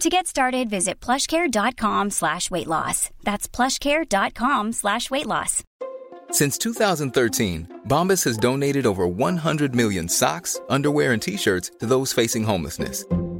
To get started, visit plushcare.com slash weight loss. That's plushcare.com slash weight loss. Since 2013, Bombas has donated over 100 million socks, underwear, and T-shirts to those facing homelessness.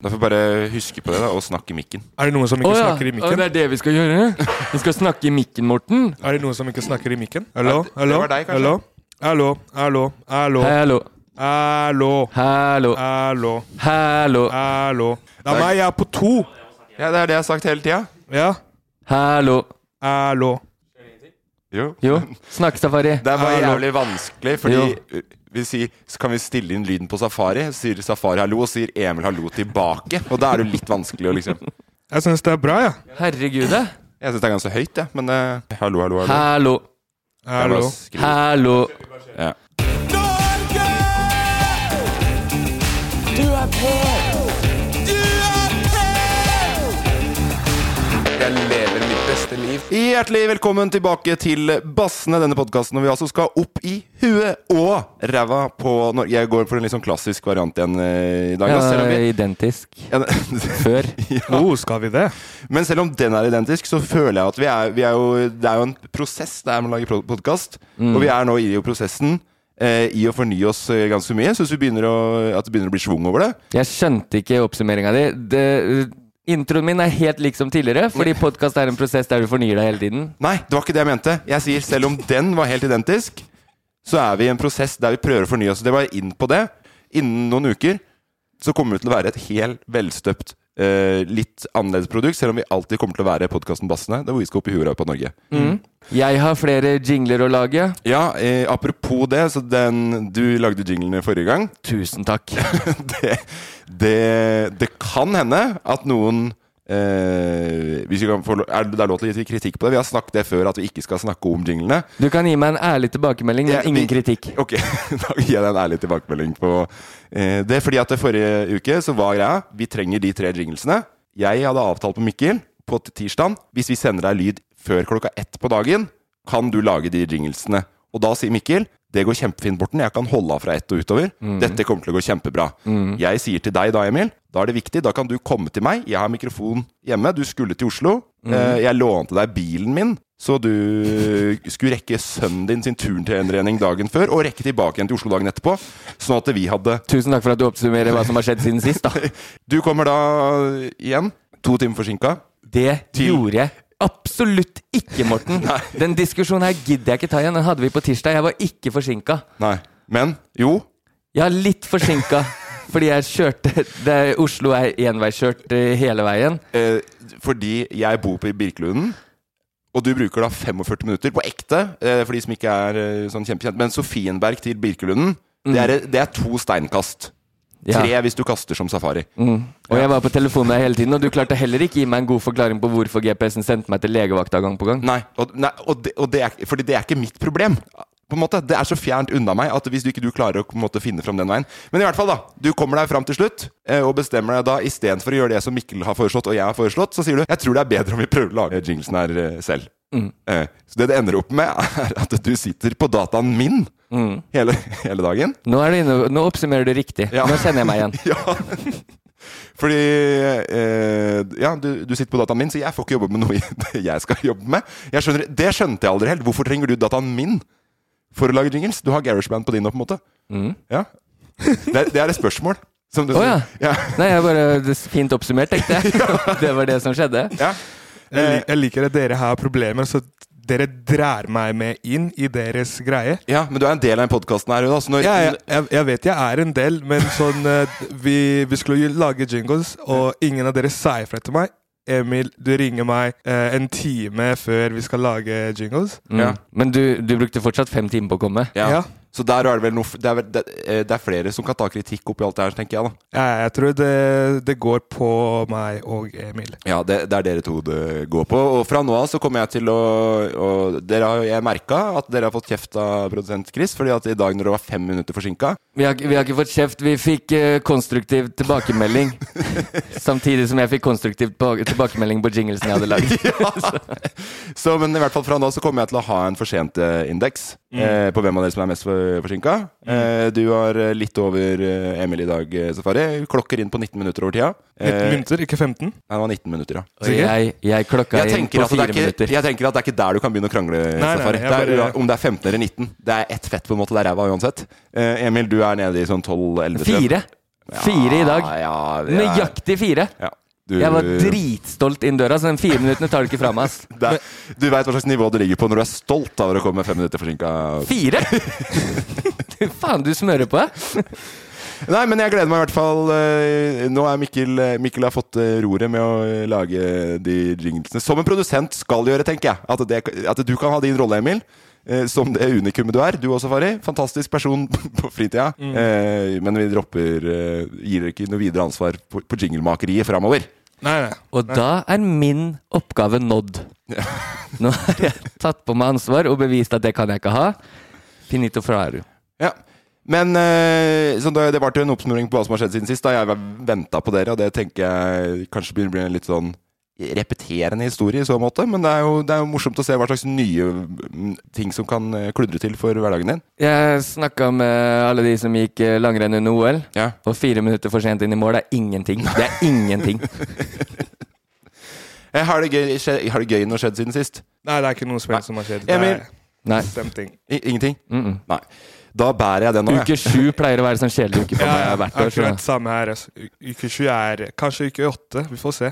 Da får jeg bare huske på det da, og snakke i mikken. Er det noen som ikke Å ja. snakker i Å, mikken? det er det vi skal gjøre? Vi skal snakke i mikken, Morten. Er det noen som ikke snakker i mikken? Hallo? det- det Hallo? var deg, kanskje? Hallo? Hallo? Hallo? Hallo? Hallo. Hallo? Hallo. Hallo? Hallo. Hallo? Det er meg, jeg er på to! Ja, Det er det jeg har sagt hele tida. Ja? Hallo. Hallo? Jo. Jo, snakkesafari. Det er bare Hallo. jævlig vanskelig, fordi uh, vi sier, så kan vi stille inn lyden på Safari. Så sier Safari hallo, og sier Emil hallo tilbake. Og da er det litt vanskelig å liksom Jeg syns det er bra, jeg. Ja. Herregud. det. Jeg syns det er ganske høyt, jeg, men eh, hallo, hallo, hallo. Hallo. Det er Hallo? bare å skrive. Hallo. Ja. Jeg lever mitt beste liv. Hjertelig velkommen tilbake til Bassene, denne podkasten hvor vi altså skal opp i huet og ræva på Norge. Jeg går for en litt sånn klassisk variant igjen eh, i dag. Ja, da, selv om vi... identisk. Ja, Før. Oh, skal vi det? Men selv om den er identisk, så føler jeg at vi er, vi er jo, det er jo en prosess det er med å lage podkast. Og vi er nå i jo prosessen eh, i å fornye oss eh, ganske mye. Jeg syns vi begynner å, at det begynner å bli schwung over det. Jeg skjønte ikke oppsummeringa di. Det- Introen min er helt lik som tidligere, fordi podkast er en prosess der du fornyer deg hele tiden. Nei, det var ikke det jeg mente. Jeg sier selv om den var helt identisk, så er vi i en prosess der vi prøver å fornye oss. Det var inn på det. Innen noen uker så kommer det til å være et helt velstøpt, eh, litt annerledes produkt, selv om vi alltid kommer til å være podkasten Bassene, der hvor vi skal opp i huet på Norge. Jeg har flere jingler å lage. Ja, eh, apropos det, så den du lagde jinglene forrige gang, Tusen takk. det, det, det kan hende at noen eh, hvis vi kan få, lo- er det det er lov til å gi kritikk på det? Vi har snakket det før at vi ikke skal snakke om jinglene. Du kan gi meg en ærlig tilbakemelding, men Jeg- ingen vi- kritikk. Ok, Da gir jeg deg en ærlig tilbakemelding på eh, det. Fordi at det forrige uke så var greia Vi trenger de tre jinglesene. Jeg hadde avtalt med Mikkel på t- tirsdag hvis vi sender deg lyd før klokka ett på dagen, kan du lage de jinglesene. Og da sier Mikkel det går kjempefint, Borten. Jeg kan holde av fra ett og utover. Mm. Dette kommer til å gå kjempebra. Jeg sier til deg da, Emil, da er det viktig. Da kan du komme til meg. Jeg har mikrofon hjemme. Du skulle til Oslo. Mm. Eh, Jeg lånte deg bilen min, så du skulle rekke sønnen din sin turntrening dagen før, og rekke tilbake igjen til Oslo dagen etterpå. Sånn at vi hadde Tusen takk for at du oppsummerer hva som har skjedd siden sist, da. Du kommer da igjen, to timer forsinka. Det Til- gjorde jeg absolutt ikke, Morten. Den diskusjonen her gidder jeg ikke ta igjen. Den hadde vi på tirsdag. Jeg var ikke forsinka. Nei. Men jo, Jeg er litt forsinka. Fordi jeg kjørte det, Oslo er enveiskjørt eh, hele veien. eh, fordi jeg bor på Birkelunden, og du bruker da 45 minutter på ekte, eh, for de som ikke er eh, sånn kjempekjent, men Sofienberg til Birkelunden, det, er, det er to steinkast. Ja. Tre hvis du kaster som safari. Og jeg var på telefonen der hele tiden, og du klarte heller ikke gi meg en god forklaring på hvorfor GPS-en sendte meg til legevakta gang på gang. Nei, og, nei og det, og det er, fordi det er ikke mitt problem. På en måte, Det er så fjernt unna meg at hvis du ikke du klarer å på en måte, finne fram den veien Men i hvert fall, da. Du kommer deg fram til slutt eh, og bestemmer deg da istedenfor å gjøre det som Mikkel har foreslått og jeg har foreslått, så sier du jeg tror det er bedre om vi prøver å lage jinglesen her eh, selv. Eh, Så det det ender opp med, er at du sitter på dataen min hele, hele dagen. Nå, er du inne, nå oppsummerer du riktig. Ja. Nå kjenner jeg meg igjen. Ja. Fordi eh, Ja, du, du sitter på dataen min, så jeg får ikke jobbe med noe i- jeg skal jobbe med. Jeg skjønner, det skjønte jeg aldri helt. Hvorfor trenger du dataen min for å lage jingles? Du har GarageBand på din nå, på en måte. Ja. Det, det er et spørsmål. Som du Å ja. ja. Nei, jeg bare det er Fint oppsummert, tenkte jeg. Det var det som skjedde. ja. Jeg, lik- jeg liker at dere har problemer, så dere drar meg med inn i deres greie. Ja, men du er en del av den podkasten her, Jonas. Når, Ja, jeg, jeg, jeg vet jeg er en del, men sånn eh, Vi, vi skulle jo lage jingles, og ingen av dere sa ifra til meg. Emil, du ringer meg eh, en time før vi skal lage jingles. Mm. Men du, du brukte fortsatt fem timer på å komme. Ja. Ja. Så der er det vel noe f- det er, vel- det, eh, det er flere som kan ta kritikk oppi alt det her, tenker jeg, da. Jeg, jeg tror det, det går på meg og Emil. Ja, det, det er dere to det går på. Og fra nå av så kommer jeg til å og dere har, Jeg merka at dere har fått kjeft av produsent Chris, fordi at i dag når det var fem minutter forsinka Vi har, ikke- vi har ikke fått kjeft. Vi fikk eh, konstruktiv tilbakemelding. Samtidig som jeg fikk konstruktiv tilba- tilbakemelding på jinglesen jeg hadde lagd. Så, men i hvert fall fra nå så kommer jeg til å ha en forsent-indeks eh, på hvem av dere som er mest for, forsinka. Eh, du har eh, litt over eh, Emil i dag, eh, Safari. Klokker inn på 19 minutter over tida. 19 Eh, minutter, ikke Nei, 15. det var 19 minutter, ja. Og jeg, jeg klokka Jeg inn tenker, på at det fire er ikke, minutter. jeg tenker at det er ikke der du kan begynne å krangle. nei, Safari. jeg det er, bare- ua- om det er 15 eller 19. Det er ett fett på en måte. Det er ræva uansett. Eh, Emil, du er nede i sånn 12-11. Fire. Fire i dag. Ja, ja, Nøyaktig fire. ja. Du, Jeg var dritstolt inn døra, så den fire minuttene tar du ikke fra meg. ass. det er- du veit hva slags nivå du ligger på når du er stolt over å komme fem minutter forsinka. Fire?! Du, faen, du smører på eh? deg. Nei, men jeg gleder meg i hvert fall. eh, Nå er Mikkel Mikkel har fått eh, roret med å eh, lage de jinglesene. Som en produsent skal gjøre, tenker jeg. At, det, at du kan ha din rolle, Emil. eh, Som det unikummet du er. Du også, Fari. Fantastisk person på fritida. Eh, Men vi dropper eh, Gir dere ikke noe videre ansvar på, på jinglemakeriet framover. Nei, nei. Og da er min oppgave nådd. Nå har jeg tatt på meg ansvar og bevist at det kan jeg ikke ha. Finito fraru. Ja. Men eh, så da, det var til en oppsnuring på hva som har skjedd siden sist. Da jeg venta på dere, og det tenker jeg kanskje begynner å bli en litt sånn repeterende historie i så måte. Men det er jo, det er jo morsomt å se hva slags nye mm, ting som kan eh, kludre til for hverdagen din. Jeg snakka med alle de som gikk eh, langrenn under OL. Ja. Og fire minutter for sent inn i mål er ingenting. Det er ingenting. Eh, Har det gøy, skje, har det gøy noe skjedd siden sist? nei, det er ikke noe spill som har skjedd. Emil. Det Nei. er bestemt ting. I, ingenting? Nei. Da bærer jeg det nå. Uke jeg. sju pleier å være sånn kjedelig uke for meg hvert år. så- akkurat samme her. Altså. U- Uke 20 er Kanskje uke 8. Vi får se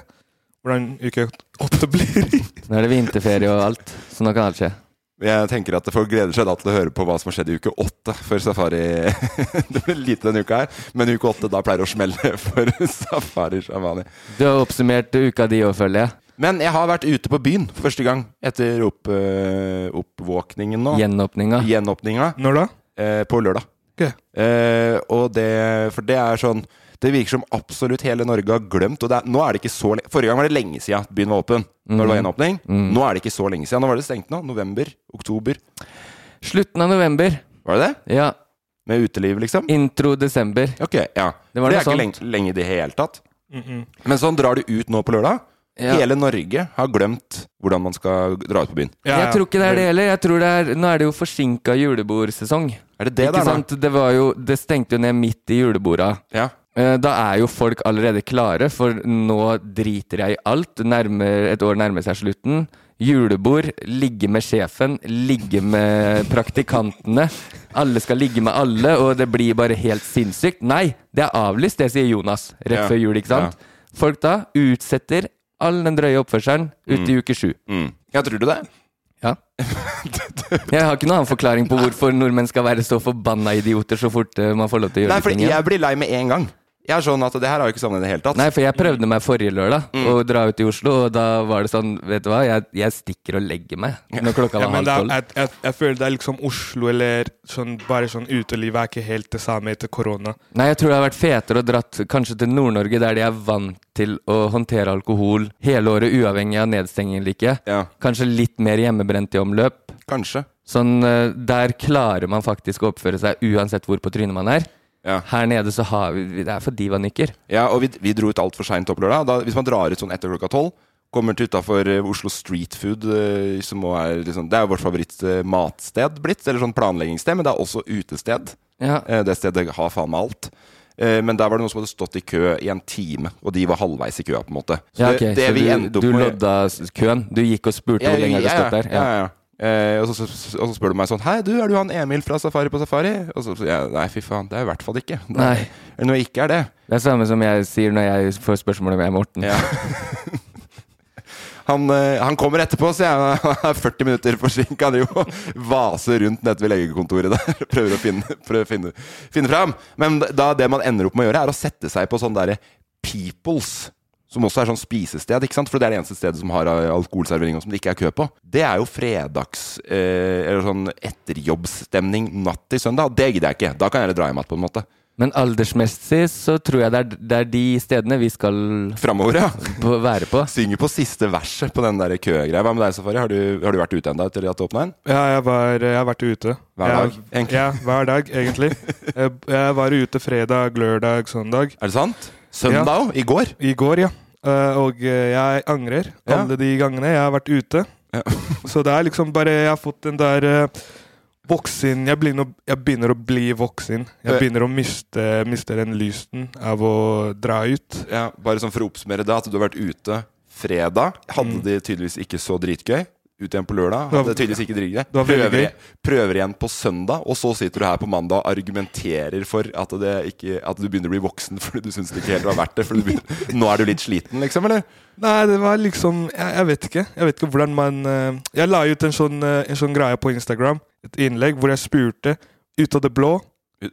hvordan uke 8 blir. Nå er det vinterferie og alt, så nå kan alt skje. Jeg tenker at folk gleder seg da til å høre på hva som har skjedd i uke åtte før safari. det blir lite denne uka her, men uke åtte da pleier det å smelle for safari shamani. Du har oppsummert uka di òg, føler jeg. Men jeg har vært ute på byen for første gang etter opp, eh, oppvåkningen nå. Gjenåpninga. Gjenåpninga Når da? eh, på lørdag. Ok. Eh, og det, for det er sånn Det virker som absolutt hele Norge har glemt. Og det er, nå er det ikke så lenge Forrige gang var det lenge siden at byen var åpen. Når Mhm. det var gjenåpning. Nå er det ikke så lenge siden. Nå var det stengt nå. November, oktober. Slutten av november. Var det det? Ja. Med uteliv, liksom? Intro desember. Ok, ja. Det det var noe er ikke sånt. lenge, lenge i det hele tatt. Men sånn drar du ut nå på lørdag. Ja. Hele Norge har glemt hvordan man skal dra ut på byen. Ja, Jeg tror ikke det er det heller. Jeg tror det er, nå er det jo forsinka julebordsesong. Er det det Ikke der, sant? Det, var jo, det stengte jo ned midt i da? juleborda. Ja. Eh, Da er jo folk allerede klare, for nå driter jeg i alt. Nærmer, et år nærmer seg slutten. Julebord, ligge med sjefen, ligge med praktikantene. Alle skal ligge med alle, og det blir bare helt sinnssykt. Nei, det er avlyst, det sier Jonas rett Ja, før jul, ikke sant? Folk da utsetter all den drøye oppførselen ut i uke sju. Mm. Ja, tror du det? Ja. Jeg har ikke noen annen forklaring på hvorfor nordmenn skal være så forbanna idioter så fort eh, man får lov til å gjøre Nei, ting fordi igjen. jeg blir lei med en gang. Jeg er sånn at Det her har jo ikke sammenheng i det hele tatt. Nei, for jeg prøvde meg forrige lørdag Mm. å dra ut i Oslo, og da var det sånn, vet du hva, jeg, jeg stikker og legger meg når klokka var Ja, men det halv er, tolv. jeg, jeg, jeg føler det er liksom Oslo eller sånn, bare sånn utelivet er ikke helt det samme etter korona. Nei, jeg tror det har vært fetere og dratt kanskje til Nord-Norge, der de er vant til å håndtere alkohol hele året, uavhengig av nedstenging eller ikke. Ja, Kanskje litt mer hjemmebrent i omløp. kanskje. Sånn, eh, der klarer man faktisk å oppføre seg uansett hvor på trynet man er. Ja, Her nede så har vi, det er for divanykker. ja og vi, vi dro ut altfor seint opp lørdag. Da, hvis man drar ut sånn etter klokka tolv, Kommer til utafor Oslo Street Food, eh, som også er liksom, det er jo vårt favorittmatsted blitt. Eller sånn planleggingssted, men det er også utested. Ja. Eh, Det stedet har faen meg alt. Eh, Men der var det noen som hadde stått i kø i en time, og de var halvveis i køa, på en måte. Så Ja, det- ok, det så vi endte du, opp du med- lodda s- køen? Du gikk og spurte Ja, hvor lenge du ja, hadde stått der? Ja, ja, ja. Eh, og, så, så- og så spør du meg sånn Hei, du, er du han Emil fra Safari på Safari? Og så sier jeg nei, fy faen, det er jeg i hvert fall ikke. Det er- Nei. Eller når jeg ikke er det. Det er samme som jeg sier når jeg får spørsmål om jeg er Morten. Ja. Han, eh, han kommer etterpå, sier jeg. Han er 40 minutter forsinka. Han driver og vaser rundt nede ved legekontoret der prøver å finne, prøver å finne, finne fram. Men da, det man ender opp med å gjøre, er å sette seg på sånn derre Peoples. Som også er sånn spisested, ikke sant? for det er det eneste stedet som har eh, alkoholservering og som det ikke er kø på. Det er jo fredags- eh, eller sånn etterjobbsstemning natt til søndag. Det gidder jeg ikke. Da kan jeg heller dra hjem igjen, på en måte. Men aldersmessig så tror jeg det er, det er de stedene vi skal Framover, ja. på, være på. Synger på siste verset på den der køgreia. Hva med deg, Safari? Har du, har du vært ute ennå etter at det åpna en? Ja, jeg, var, jeg har vært ute. Hver dag, Jeg, egentlig. Ja, hver dag, egentlig. Jeg, jeg var ute fredag, lørdag, søndag. Er det sant? Søndag òg? I går? I går, ja. Eh, Og eh, jeg angrer Ja. alle de gangene jeg har vært ute. Ja. Så det er liksom bare Jeg har fått den der eh, voksen jeg begynner, å- jeg begynner å bli voksen. Ja. Jeg begynner å miste, miste den lysten av å dra ut. Ja, bare sånn for å oppsummere det, at du har vært ute fredag. Hadde Mm. de tydeligvis ikke så dritgøy. Ut igjen på lørdag. Det var- Hadde det tydeligvis ikke dritgøy. var veldig Prøver, prøver igjen på søndag, og så sitter du her på mandag og argumenterer for at, det ikke, at du begynner å bli voksen fordi du syns det ikke helt har vært det. Fordi du begynner, nå er du litt sliten, liksom, eller? Nei, det var liksom Jeg, jeg vet ikke. Jeg vet ikke hvordan man eh, Jeg la ut en sånn, eh, en sånn greie på Instagram, et innlegg, hvor jeg spurte ut av det blå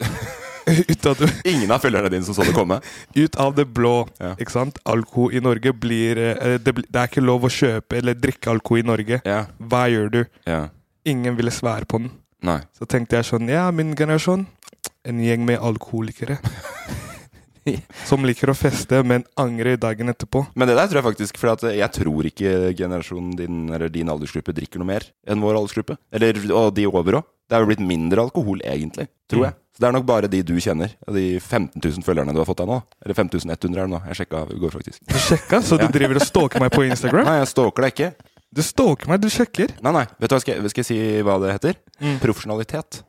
Ut av det, Ingen av følgerne dine som så det komme. ut av det blå. Ja. Ikke sant? Alko i Norge blir eh, det, blir- det er ikke lov å kjøpe eller drikke alko i Norge. Ja, Hva gjør du? ja. Ingen ville svære på den. Nei. Så tenkte jeg sånn Ja, min generasjon. En gjeng med alkoholikere. Som liker å feste, men angrer dagen etterpå. Men det der tror jeg faktisk, for at jeg tror ikke generasjonen din eller din aldersgruppe drikker noe mer enn vår aldersgruppe. Eller, og de over òg. Det er jo blitt mindre alkohol, egentlig. Mm. Tror jeg. Så det er nok bare de du kjenner, og de 15 000 følgerne du har fått deg nå. Eller 5100 er det nå. Jeg sjekka i går, faktisk. Du sjekka, så du Ja. driver og stalker meg på Instagram? Nei, jeg stalker deg ikke. Du stalker meg, du sjekker. Nei, nei. Vet du hva skal jeg, skal jeg si hva det heter? Mm. Profesjonalitet.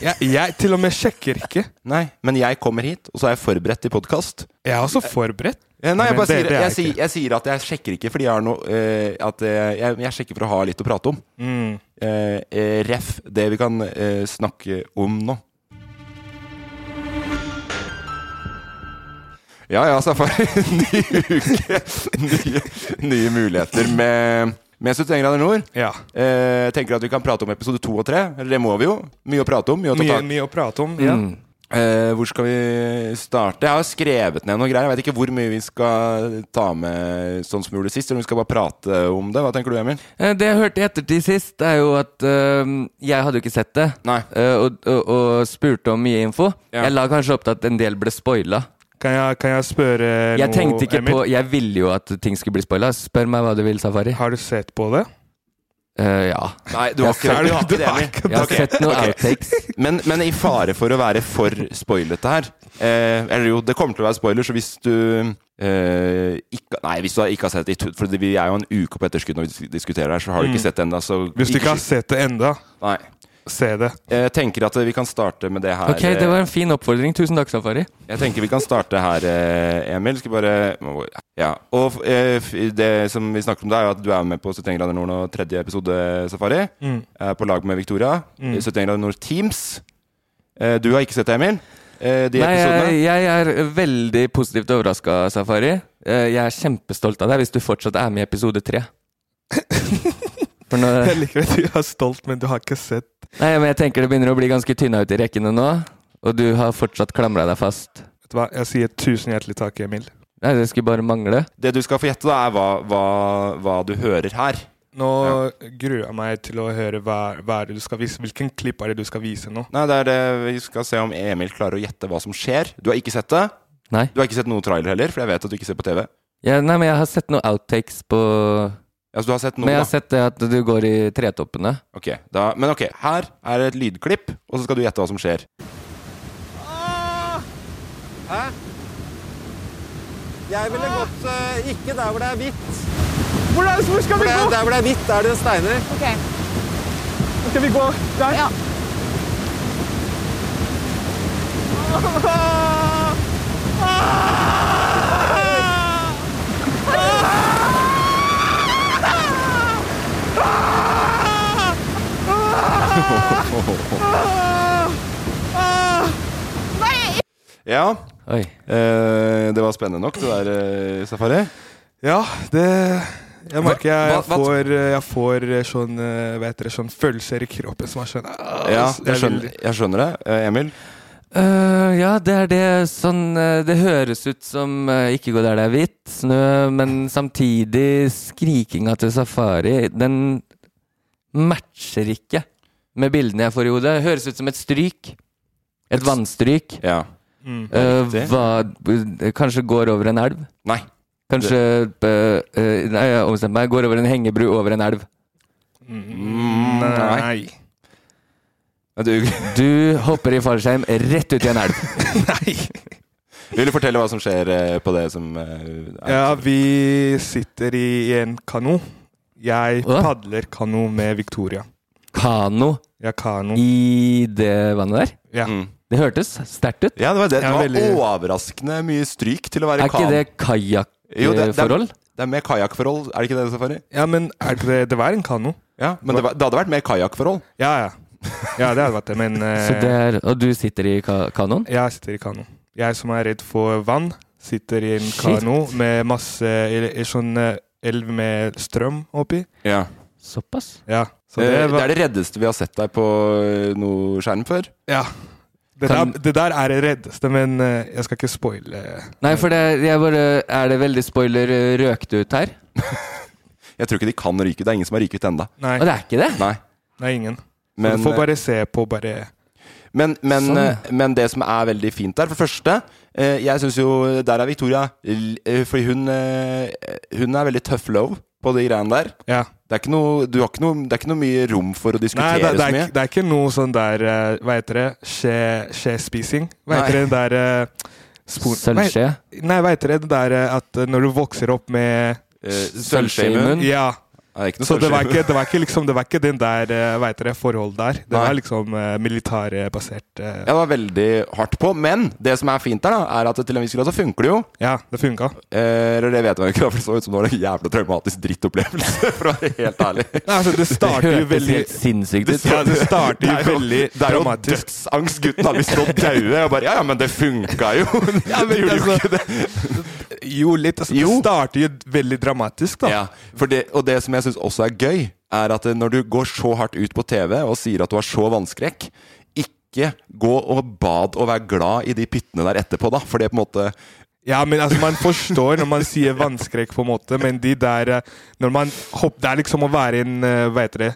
Jeg, jeg til og med sjekker ikke. Nei. Men jeg kommer hit, og så er jeg forberedt til podkast. Jeg er også forberedt. Eh, Nei, jeg, Men bare det- sier, det er jeg, jeg sier, jeg sier at jeg sjekker ikke fordi jeg har noe eh, at, eh, jeg, jeg sjekker for å ha litt å prate om. mm, Eh, eh, ref det vi kan eh, snakke om nå. Ja ja, Safari. Ny uke. Nye, nye muligheter med, med 71 grader nord. Ja. Eh, tenker at vi kan prate om episode to og tre. Eller det må vi jo. Mye å prate om. Mye å ta Mye, tak i. mye å prate om. Ja. Mm. Eh, hvor skal vi starte? Jeg har skrevet ned noen greier. Jeg vet ikke hvor mye vi skal ta med sånn som vi gjorde sist, eller om vi skal bare prate om det. Hva tenker du, Emil? Eh, Det jeg hørte i ettertid sist, er jo at øhm, jeg hadde jo ikke sett det. Nei. Eh, og, og, og spurte om mye info. Ja. Jeg la kanskje opp til at en del ble spoila. Kan, jeg, kan jeg spørre Jeg noe, tenkte ikke Emil? på Jeg ville jo at ting skulle bli spoila. Spør meg hva du vil, Safari. Har du sett på det? Eh, ja. Nei, du har ikke, ser det. du har ikke Du det, har Emil. ikke Jeg har Ok, sett noen ok. outtakes. Men, men i fare for å være for spoilete her eh, Eller jo, det kommer til å være spoiler, så hvis du eh, ikke, Nei, hvis du har- ikke har sett det, for vi er jo en uke på etterskudd når vi diskuterer her, så har du ikke sett det ennå, så Hvis du ikke har sett det enda, Nei. se det. Jeg tenker at vi kan starte med det her. Ok, det var en fin oppfordring. Tusen takk, Safari. Jeg tenker vi kan starte her, eh, Emil. Skal bare Ja. Og eh, f- det som vi snakker om, det er jo at du er med på 71 grader nord nå, tredje episode, Safari. Mm. Er på lag med Victoria. Mm. I 71 grader nord Teams. Eh, Du har ikke sett det, Emil? Eh, De Nei, jeg, episodene? jeg er veldig positivt overraska, Safari. Eh, jeg er kjempestolt av deg hvis du fortsatt er med i episode tre. For nå, Jeg liker at du er stolt, men du har ikke sett nei, men jeg tenker det begynner å bli ganske tynna ut i rekkene nå, og du har fortsatt klamra deg fast. Vet du hva, jeg sier tusen hjertelig takk, Emil. Nei, det skulle bare mangle. Det du skal få gjette, da, er hva, hva, hva du hører her. Nå gruer jeg meg til å høre hva, hva er det du skal vise. Hvilken klipp er det du skal vise nå? Nei, det er det vi skal se om Emil klarer å gjette hva som skjer. Du har ikke sett det. Nei. Du har ikke sett noen trailer heller, for jeg vet at du ikke ser på TV. Ja, nei, men jeg har sett noen outtakes på Altså, du har sett noe, Men jeg da. har sett det at du går i tretoppene. Ok, da, men ok, her er det et lydklipp, og så skal du gjette hva som skjer. Ah! Jeg ville gått eh, ikke der hvor det er hvitt. Ah! Hvor, er, hvor skal vi Der, gå? der hvor det er hvitt, der er det steiner. Ok, Skal vi gå der? ja. Ja, Oi. eh, det var spennende nok, det der eh, safari. Ja, det Jeg merker jeg Hva- hva- hva- får, eh, jeg får eh, sånn, eh, hva heter det, sånn følelser i kroppen som er sånn ah, Ja, jeg jeg skjønner, vil- jeg skjønner det. Eh, Emil? Øh, ja, det er det sånn øh, Det høres ut som øh, ikke gå der det er hvitt, snø, men samtidig skrikinga til safari, den matcher ikke med bildene jeg får i hodet. Høres ut som et stryk. Et vannstryk. Ja. Mm. Øh, riktig. hva, eh, kanskje går over en elv. Nei. Kanskje øh, øh, Nei, jeg omstemte meg. Går over en hengebru over en elv. Mm, Nei. Mm, Nei. Du, Du hopper i fallskjerm rett ut i en elv. vil du fortelle hva som skjer eh, på det som eh, er- Ja, vi sitter i en kano. Jeg Hva? padler kano med Victoria. Kano Ja, kano. i det vannet der. Ja. Mm. Det hørtes sterkt ut. Ja, det var, det. Det Ja, var veldig- overraskende mye stryk til å være Er ikke kan. det Jo, det- det er- kajakkforhold? Det er mer kajakkforhold, er det ikke det, Safari? Ja, men er det, det var en kano. Ja, men det, var, det hadde vært mer kajakkforhold. Ja, ja. Ja, det hadde vært det, men eh, Så det er, og du sitter i ka kanoen? jeg sitter i kano. Jeg som er redd for vann, sitter i en Shit. kano med masse i, i sånn eh, elv med strøm oppi. Ja. Såpass. Ja. Så Eh, Det, det det var er det reddeste vi har sett deg på eh, noe skjerm før. Ja. Det der, Kan- det der er det reddeste, men eh, jeg skal ikke spoile. Nei, for det, jeg bare, er det veldig spoiler øh, røkt ut her? Jeg tror ikke de kan ryke ut. Det er ingen som har ryket enda. Nei, Og det er ikke det? Nei. nei ingen. Men, eh, så du får bare se på, bare men, men, Sånn. eh, men det som er veldig fint der, for det første eh, Jeg syns jo der er Victoria l- eh, Fordi hun, eh, hun er veldig tough love på de greiene der. Ja. Det er ikke noe, du har ikke noe, det er ikke noe mye rom for å Nei, diskutere det, det, så er, mye. ikke- det er ikke noe sånn der eh, Hva heter det? Skje- Skjespising? Hva Nei. heter det den der eh, spor- Hva heter- Sølvskje? Nei, hva heter det den der eh, at eh, når du vokser opp med Eh, Sølvskje i sølvskje i munnen. munnen? Ja. Nei, ikke noe Så det var sølvskje i ikke, det var ikke, liksom, det var ikke den der eh, hva heter det, forhold der. Det Nei. var liksom eh, militærbasert eh, Ja, det var veldig hardt på. Men det som er fint der, da, er at til en viss grad så funker det jo. Ja, det funka. Eh, Eller det vet man jo ikke, da, for det så ut som det var en jævla traumatisk drittopplevelse. For å være helt ærlig. Nei, Altså, det Det starter jo hørtes veldig helt sinnssykt ut. ja, det starter jo veldig det er jo dramatisk. dødsangst. Gutten har lyst til å daue. Jeg bare Ja, ja, men det funka jo. Ja, men det gjorde jo altså- ikke det. Jo, litt. Altså, det Jo. starter jo veldig dramatisk, da. Ja, for det, og det som jeg syns også er gøy, er at eh, når du går så hardt ut på TV og sier at du har så vannskrekk, ikke gå og bad og vær glad i de pyttene der etterpå, da. For det er på en måte Ja, men altså, man forstår når man sier vannskrekk, på en måte, men de der eh, Når man hopper Det er liksom å være i en eh, Hva heter det?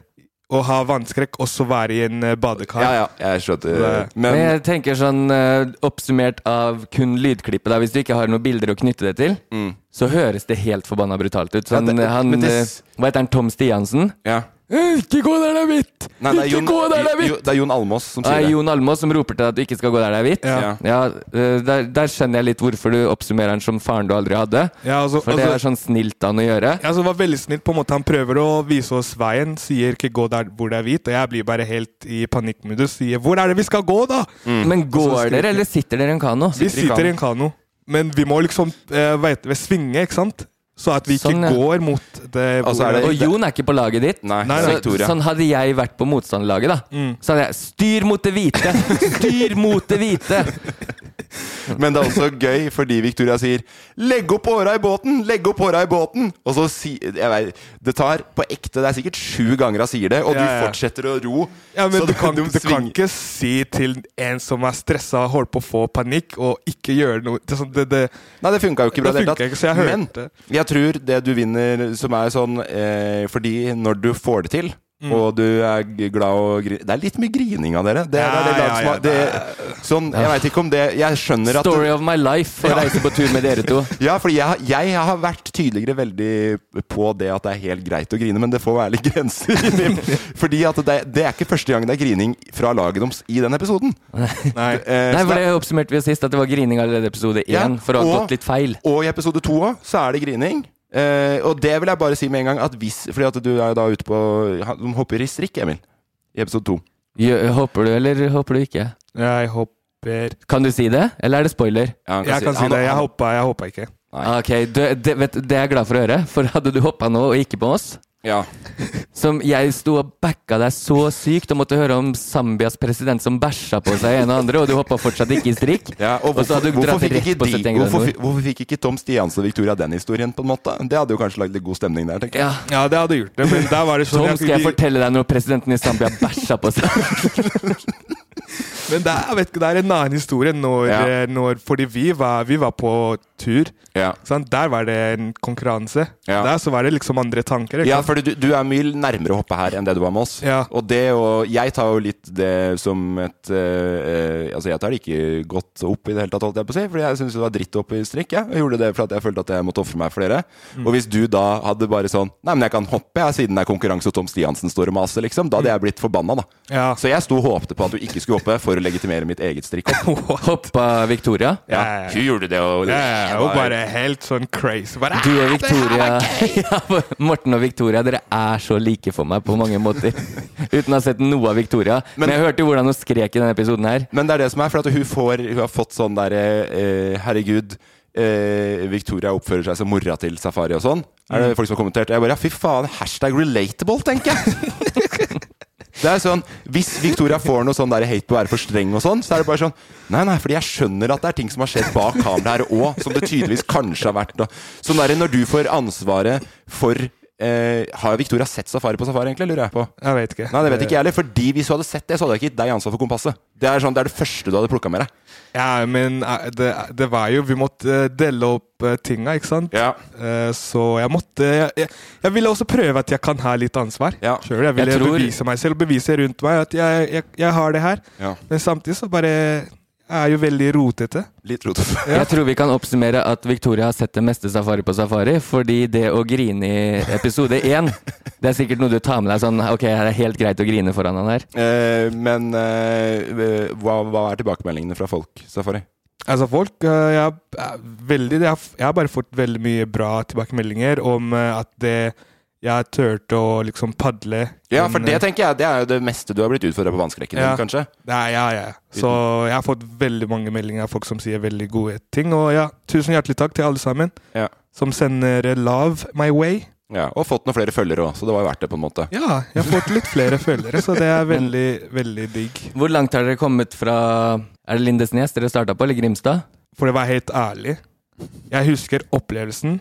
Å ha vannskrekk og så være i en eh, badekar. Ja, ja, jeg skjønner. Det- Men Men jeg tenker sånn øh, oppsummert av kun lydklippet, da, hvis du ikke har noen bilder å knytte det til, så høres det helt forbanna brutalt ut. Sånn, Mm. Ja, det- han, men det- øh, hva heter han, Tom Stiansen? ja. «Øh, Ikke gå der det er hvitt! Nei, det er Ikke Jon, gå der det er hvitt! Jo- det er Jon Almås som Nei, sier det. Jon Almaas som roper til deg at du ikke skal gå der det er hvitt. Ja. Ja, øh, der, der skjønner jeg litt hvorfor du oppsummerer den som faren du aldri hadde. Ja, altså, For det altså, er sånn snilt han å gjøre. Ja, så det var veldig snilt. på en måte Han prøver å vise oss veien, sier 'ikke gå der hvor det er hvit', og jeg blir bare helt i panikkmodus. Sier 'hvor er det vi skal gå', da?! Mm. Men Altså, Og så skriker- går dere, eller sitter dere i en kano? Vi sitter i en kano, men vi må liksom eh, hva heter det, svinge, ikke sant? Så at vi ikke Sånn, ja. går mot det Altså, er bordet. det- Og Jon er ikke på laget ditt. Nei, Nei, det nei. Mm. er Victoria. sånn hadde jeg vært på motstanderlaget, da. Så hadde jeg Styr mot det hvite! Styr mot det hvite! Men det er også gøy fordi Victoria sier 'legg opp åra i båten', 'legg opp åra i båten'. Og så si, jeg vet, Det tar på ekte Det er sikkert sju ganger han sier det, og Ja, ja. du fortsetter å ro. Ja, men så du kan, de du kan svinger- ikke si til en som er stressa og holder på å få panikk, og ikke gjøre noe det, er sånn- det, det, Nei, det funka jo ikke bra. Det i hele funka tatt. ikke, så jeg hørte men det. jeg tror det du vinner, som er sånn eh, Fordi når du får det til Mm. Og du er g- glad og gri Det er litt mye grining av dere. Det, Ja, det, er det, ja, ja, som er- det, sånn, jeg veit ikke om det Jeg skjønner at Story of my life å reise på tur med dere to. Ja, fordi jeg, jeg har vært tydeligere veldig på det at det er helt greit å grine, men det får være litt grenser. fordi at det, det er ikke første gang det er grining fra laget deres i den episoden. Nei. Eh, Nei, så for det- det oppsummerte vi jo sist, at det var grining allerede i episode én, Ja, for å ha og- gått litt feil. Og i episode to òg, så er det grining. Eh, Eh, og det vil jeg bare si med en gang, at hvis, fordi at du er da ute på han- De hopper i strikk, Emil, i episode to. Gjø- Håper du, eller håper du ikke? Jeg hopper Kan du si det, eller er det spoiler? Ja, han Jeg kan si han- det. Jeg han- hoppa, jeg hoppa ikke. Nei. Ok, du, det, vet, du, det er jeg glad for å høre, for hadde du hoppa nå og ikke på oss Ja. Som jeg sto og backa deg så sykt og måtte høre om Zambias president som bæsja på seg en og andre, og du hoppa fortsatt ikke i strikk. Ja, og Og så hvorfor, hadde du hvorfor, dratt fikk rett ikke på de, 71 grader hvorfor, nord. fi- hvorfor fikk ikke Tom Stiansen og Victoria den historien, på en måte? Det hadde jo kanskje lagd litt god stemning der, tenker jeg. Ja. Ja, det hadde gjort det, men da var det sånn Tom, skal jeg vi- fortelle deg når presidenten i Zambia bæsja på seg? Men det er, jeg vet ikke, det er en annen historie når, Ja. eh, når Fordi vi var, vi var på tur. Ja, Sant? Der var det en konkurranse. Ja. Der så var det liksom andre tanker. Ikke? sant? for du, du er mye nærmere å hoppe her enn det du var med oss. Ja. Og det og Jeg tar jo litt det som et eh, eh, Altså, jeg tar det ikke godt opp i det hele tatt, holdt jeg på å si, fordi jeg syns det var dritt å hoppe i strikk. Jeg. jeg gjorde det fordi at jeg følte at jeg måtte ofre meg for dere. Mm. Og hvis du da hadde bare sånn Nei, men jeg kan hoppe, jeg, siden det er konkurranse og Tom Stiansen står og maser, liksom. Da hadde jeg blitt forbanna, da. Mm. Ja. Så jeg sto og håpte på at du ikke skulle hoppe, for å legitimere mitt eget strikkhopp. Hoppa Victoria? Ja, Ja, ja, ja. hun gjorde det, og Ja, ja, ja, og bare helt sånn crazy. Bare, Du og Victoria ja, Morten og Victoria, dere er så like for meg på mange måter. Uten å ha sett noe av Victoria. Men, Men- jeg hørte jo hvordan hun skrek i denne episoden her. Men det er det som er, for at hun, får, hun har fått sånn der eh, Herregud, eh, Victoria oppfører seg som mora til Safari og sånn. Er Mm. det folk som har kommentert? Jeg bare, ja, fy faen, hashtag relatable, tenker jeg! Det er sånn, Hvis Victoria får noe sånn der hate på å være for streng, og sånn, så er det bare sånn Nei, nei, fordi jeg skjønner at det er ting som har skjedd bak kamera her òg, som det tydeligvis kanskje har vært da. Sånn der, Når du får ansvaret for eh, Har Victoria sett Safari på Safari, egentlig? Lurer jeg på. Jeg vet ikke. Nei, det vet ikke jeg heller. Fordi hvis du hadde sett det, så hadde jeg ikke gitt deg ansvar for kompasset. Det er, sånn, det er det første du hadde plukka med deg. Ja, men eh, det, det var jo Vi måtte eh, dele opp eh, tinga, ikke sant? Ja. Eh, Så jeg måtte jeg, jeg, jeg ville også prøve at jeg kan ha litt ansvar. Ja. Selv, jeg ville Jeg tror- bevise meg selv, bevise rundt meg at jeg, jeg, jeg har det her. Ja. Men samtidig så bare Jeg er jo veldig rotete. Litt rotete. Jeg tror vi kan oppsummere at Victoria har sett det meste safari på safari, fordi det å grine i episode én, det er sikkert noe du tar med deg sånn Ok, det er helt greit å grine foran han her. Eh, men eh, hva, hva er tilbakemeldingene fra folk, Safari? Altså folk eh, jeg, er veldig, jeg, har f- jeg har bare fått veldig mye bra tilbakemeldinger om eh, at det, jeg turte å liksom padle. Ja, for Men, det eh, tenker jeg, det er jo det meste du har blitt utfordra på vannskrekken Ja. din, kanskje? ja, ja, ja. Så jeg har fått veldig mange meldinger av folk som sier veldig gode ting. Og ja, tusen hjertelig takk til alle sammen Ja. som sender eh, love my way. ja. Og fått noen flere følgere òg, så det var jo verdt det, på en måte. Ja, jeg har fått litt flere følgere, så det er veldig, veldig digg. Hvor langt har dere kommet fra Er det Lindesnes dere starta på, eller Grimstad? For det var helt ærlig. Jeg husker opplevelsen,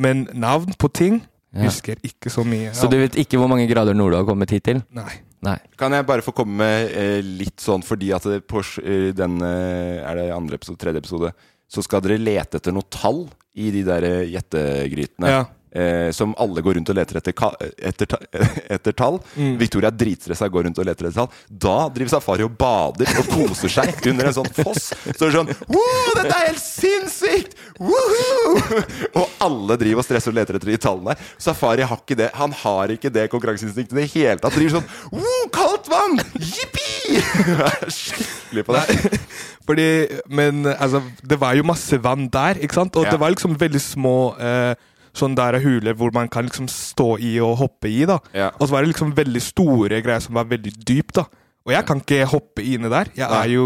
men navn på ting Ja. husker ikke så mye. Så du vet ikke hvor mange grader nord du har kommet hit til? Nei. Nei. Kan jeg bare få komme med eh, litt sånn fordi at det på s- eh, den eh, Er det andre episode, tredje episode? Så skal dere lete etter noe tall i de der eh, gjettegrytene. Ja. Eh, som alle går rundt og leter etter, ka- etter, ta- etter tall. Victoria er dritstressa og går rundt og leter etter tall. Da driver Safari og bader og koser seg under en sånn foss. Så er det sånn Wow, dette er helt sinnssykt! Woohoo! Og alle driver og stresser og leter etter de tallene. der. Safari har ikke det. Han har ikke det konkurranseinstinktet i det hele tatt. Driver sånn Wow, kaldt vann! Jippi! Jeg er Skikkelig på det. Fordi, men altså, det var jo masse vann der, ikke sant? Og Ja. det var liksom veldig små eh, sånn der huler hvor man kan liksom stå i og hoppe i, da. Ja. Og så var det liksom veldig store greier som var veldig dypt, da. Og jeg kan ikke hoppe inne der. Jeg Nei. er jo